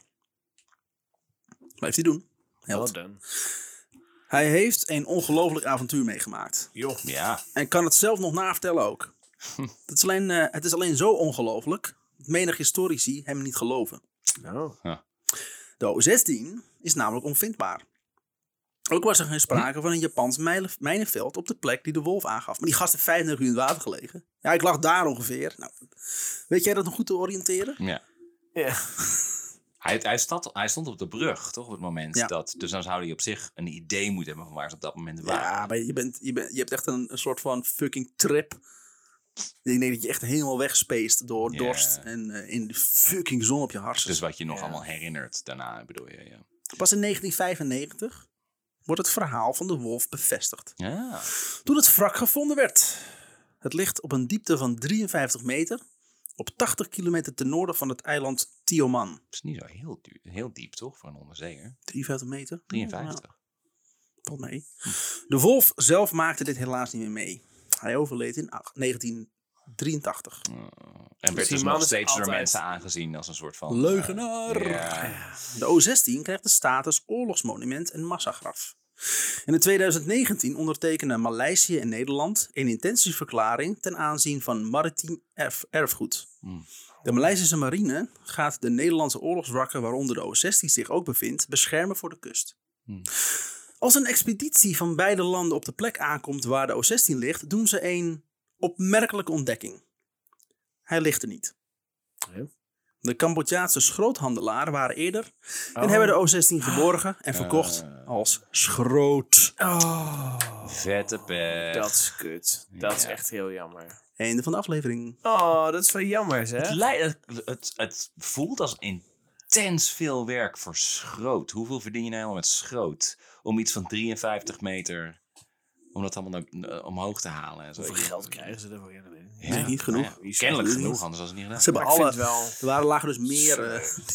Blijft hij doen. Well Held. done. Hij heeft een ongelooflijk avontuur meegemaakt. Joh. Ja. En kan het zelf nog navertellen ook. Het is alleen, eh, het is alleen zo ongelooflijk dat menig historici hem niet geloven. Nou. De O16 is namelijk onvindbaar. Ook was er geen sprake van een Japans mijlen- mijnenveld op de plek die de wolf aangaf. Maar die gast heeft 35 uur in het water gelegen. Ja, ik lag daar ongeveer. Nou, weet jij dat nog goed te oriënteren? ja. Ja. Hij, hij, stond, hij stond op de brug, toch? Op het moment Ja. dat... Dus dan zou hij op zich een idee moeten hebben van waar ze op dat moment waren. Ja, maar je, bent, je, bent, je hebt echt een, een soort van fucking trip. Ik denk dat je echt helemaal wegspeest door Ja. dorst en eh, in de fucking zon op je hartjes. Dus wat je nog Ja. allemaal herinnert daarna, bedoel je. Ja. Pas in 1995 wordt het verhaal van de wolf bevestigd. ja. Toen het wrak gevonden werd. Het ligt op een diepte van 53 meter. Op 80 kilometer ten noorden van het eiland Tioman. Het is niet zo heel, du- heel diep, toch? Voor een onderzeeër. 53 meter? 53. Ja, valt mee. De wolf zelf maakte dit helaas niet meer mee. Hij overleed in ach- 1983. Oh. En Dus werd die dus man nog is steeds door altijd- mensen aangezien als een soort van... Leugenaar. Oh, eh, ja. De O16 krijgt de status oorlogsmonument en massagraf. En in 2019 ondertekenen Maleisië en Nederland een intentieverklaring ten aanzien van maritiem erf- erfgoed. Hmm. De Maleisische marine gaat de Nederlandse oorlogswrakken, waaronder de O16 zich ook bevindt, beschermen voor de kust. Hmm. Als een expeditie van beide landen op de plek aankomt waar de O16 ligt, doen ze een opmerkelijke ontdekking. Hij ligt er niet. Hè? De Cambodjaanse schroothandelaren waren eerder en Oh. hebben de O16 geborgen en verkocht Eh. als schroot. Oh. Vette pech. Dat is kut. Dat is Ja. echt heel jammer. Einde van de aflevering. Oh, dat is wel jammer, Het, hè? lij- het, het, het voelt als intens veel werk voor schroot. Hoeveel verdien je nou helemaal met schroot? Om iets van 53 meter, om dat allemaal naar- eh, omhoog te halen. En zo. Hoeveel geld krijgen ze ervoor? Ja, dat weet ik niet. Ja, Nee, niet genoeg. nou ja, kennelijk Niet genoeg, genoeg. anders was het niet gedaan. Ze hebben Maar ik alle, vind wel... er waren, lagen dus meer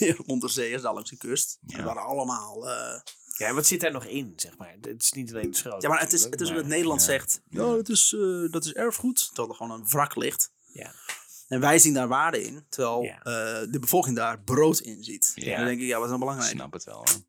eh, onderzeeërs dan langs de kust. Ja. Die waren allemaal... eh, Ja, wat zit daar nog in, zeg maar? Het is niet alleen het schroot. ja, maar het is, het is maar- wat Nederland Ja. zegt. Ja. Ja, dat is, eh, dat is erfgoed. Terwijl er gewoon een wrak ligt. Ja. En wij zien daar waarde in. Terwijl Ja. eh, de bevolking daar brood in ziet. Ja. En dan denk ik, ja, wat is nou Ik belangrijk? snap het wel. hoor.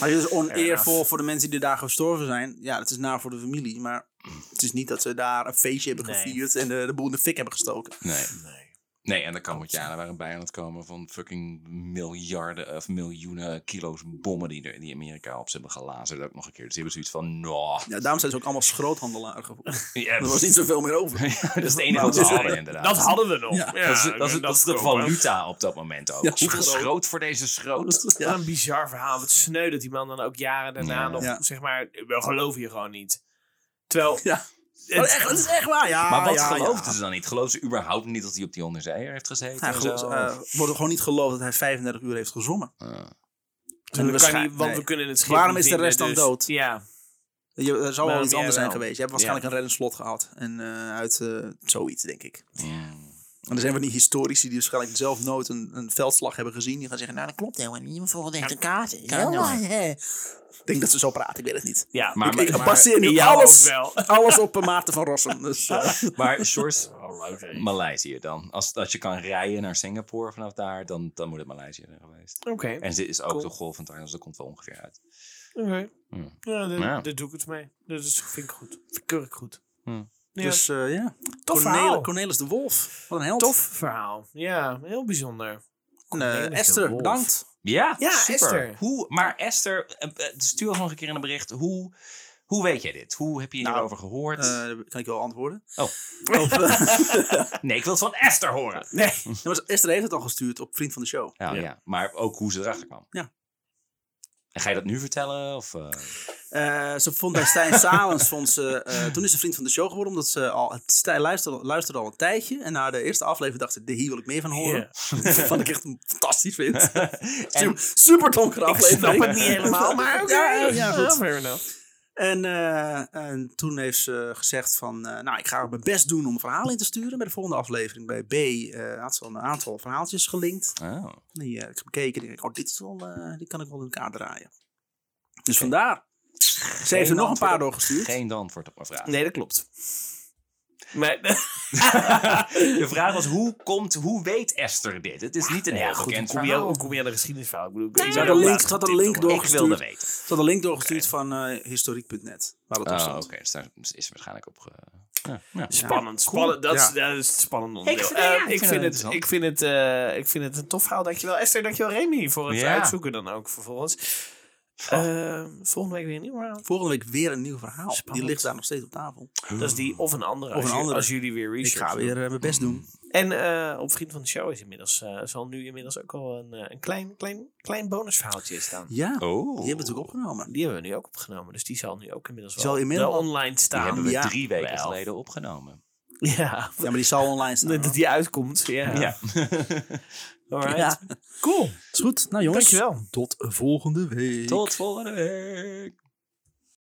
Maar het is oneervol enough. voor de mensen die daar gestorven zijn. Ja, dat is naar voor de familie. Maar het is niet dat ze daar een feestje hebben Nee. gevierd en de, de boel in de fik hebben gestoken. Nee. Nee. nee, en de Cambodjanen waren bij aan het komen van fucking miljarden of miljoenen kilo's bommen die, er, die Amerika op ze hebben gelazerd ook nog een keer. Dus die hebben zoiets van, nou, Ja, daarom zijn ze ook allemaal schroothandelaar gevoerd. ja, Er was niet zoveel meer over. Ja, dat is het enige wat ze Dat- hadden inderdaad. Dat hadden we nog. Ja. Ja, dat is, dat is, dat is de kopen. valuta op dat moment ook. Ja, Hoeveel schroot. schroot voor deze schroot? Ja. Wat een bizar verhaal. Wat sneu dat die man dan ook jaren daarna Ja. nog, Ja. zeg maar, we geloven je gewoon niet. Terwijl, Ja. Maar het- Oh, echt, dat is echt waar. Ja, maar wat ja, geloofden ja. ze dan niet? Geloofden ze überhaupt niet dat hij op die onderzeeër heeft gezeten? Hij en geloof- zo? eh, wordt gewoon niet geloofd dat hij 35 uur heeft gezongen. Ah. we kunnen waarschijn- niet- want nee. we kunnen het schip Waarom niet is de rest vinden, dan dus- dood? Ja, Je, er zal wel Waarom iets jij anders zijn wel? geweest. Je hebt waarschijnlijk een reddenslot gehad. En eh, uit eh, zoiets, denk ik. Mm. En er zijn van die historici die dus waarschijnlijk zelf nooit een, een veldslag hebben gezien. Die gaan zeggen, nou dat klopt helemaal niet. maar Volgens de kaart. Ik denk dat ze zo praten, ik weet het niet. Ja, Maar- ik, ik maar- baseer nu Ja, ook alles, wel. alles op eh, Maarten van Rossum. Dus, eh, Maar Shores, Oh, leuk, hè. Maleisië dan. Als, als je kan rijden naar Singapore vanaf daar, dan, dan moet het Maleisië zijn geweest. Oké. En dit is ook Cool. de golf van Thailand, dus dat komt wel ongeveer uit. Oké. Hmm. Ja, daar, Ja. daar doe ik het mee. Dat is, vind ik goed. Vind ik keurig goed. Hmm. Ja. dus eh, ja, tof Cornel- verhaal. Cornelis de Wolf. Wat een held. Tof verhaal. Ja, heel bijzonder. En, eh, Cornelis de Esther, Wolf. bedankt. Ja, Ja, super. Esther. Hoe, maar Esther, eh, eh, stuur ons nog een keer in een bericht. Hoe, hoe weet jij dit? Hoe heb je Nou, hierover gehoord? Eh, kan ik wel antwoorden? Oh. Of, eh, nee, ik wil het van Esther horen. nee, maar Esther heeft het al gestuurd op Vriend van de Show. Ja, Ja. ja. maar ook hoe ze erachter kwam. Ja. En ga je dat nu vertellen? Of, eh? Eh, ze vond bij Stijn Salens, vond ze, eh, toen is ze vriend van de show geworden, omdat ze al, het, Stijn luisterde, luisterde al een tijdje. En na de eerste aflevering dacht ze, "De- hier wil ik meer van horen. Wat ik echt een fantastisch vind. en, Super- Super donkere aflevering. snap het niet helemaal, maar oké. Ja, ja, ja, goed. fair enough. En, eh, en toen heeft ze gezegd van, eh, nou, ik ga mijn best doen om een verhaal in te sturen. Bij de volgende aflevering, bij B, eh, had ze al een aantal verhaaltjes gelinkt. oh, Die eh, heb ik bekeken en denk ik, oh, dit is wel, eh, die kan ik wel in elkaar draaien. Dus vandaar. Ze heeft er nog een paar antwoord doorgestuurd. geen antwoord op mijn vraag. Nee, dat klopt. Maar, De vraag was, hoe, komt, hoe weet Esther dit? Het is niet een Nou heel ja, goed, hoe bekend kom, je, verhaal. hoe kom je aan de geschiedenisverhaal? Ik bedoel, ik Ze ben had een ook link, laatst ze had een op link TikTok. Ik wilde doorgestuurd. weten. Ze had een link doorgestuurd van eh, historiek.net. Waar dat op Oh, stond. oké. Dus daar is waarschijnlijk op... ge- Ja, ja. Spannend, Ja, spannend. Dat, is, cool. dat is het spannende onderdeel. vind- ja, Eh, ik ik, vind het vind het, interessant. ik, vind het, eh, ik vind het een tof verhaal. Dankjewel Esther, dankjewel Remy voor het Ja. Oh. uitzoeken dan ook vervolgens. Eh, volgende week weer een nieuw verhaal. Volgende week weer een nieuw verhaal. Die Spannend. ligt daar nog steeds op tafel. Dat is die of een andere, Of als, een jullie- andere. als jullie weer Ik research ga doen. weer eh, mijn best doen. En eh, op Vriend van de Show is inmiddels, eh, zal nu inmiddels ook al een, eh, een klein, klein, klein bonusverhaaltje in staan. Ja, Oh. die hebben we natuurlijk opgenomen. Die hebben we nu ook opgenomen, dus die zal nu ook inmiddels wel, Zal inmiddels wel al- online Die staan. hebben we Ja. drie weken Wel. geleden opgenomen. Ja, Ja, maar die zal online staan. dat die uitkomt. Ja. Ja. Alright. Ja. Cool. Is goed. Nou jongens. Dankjewel. Tot volgende week. Tot volgende week.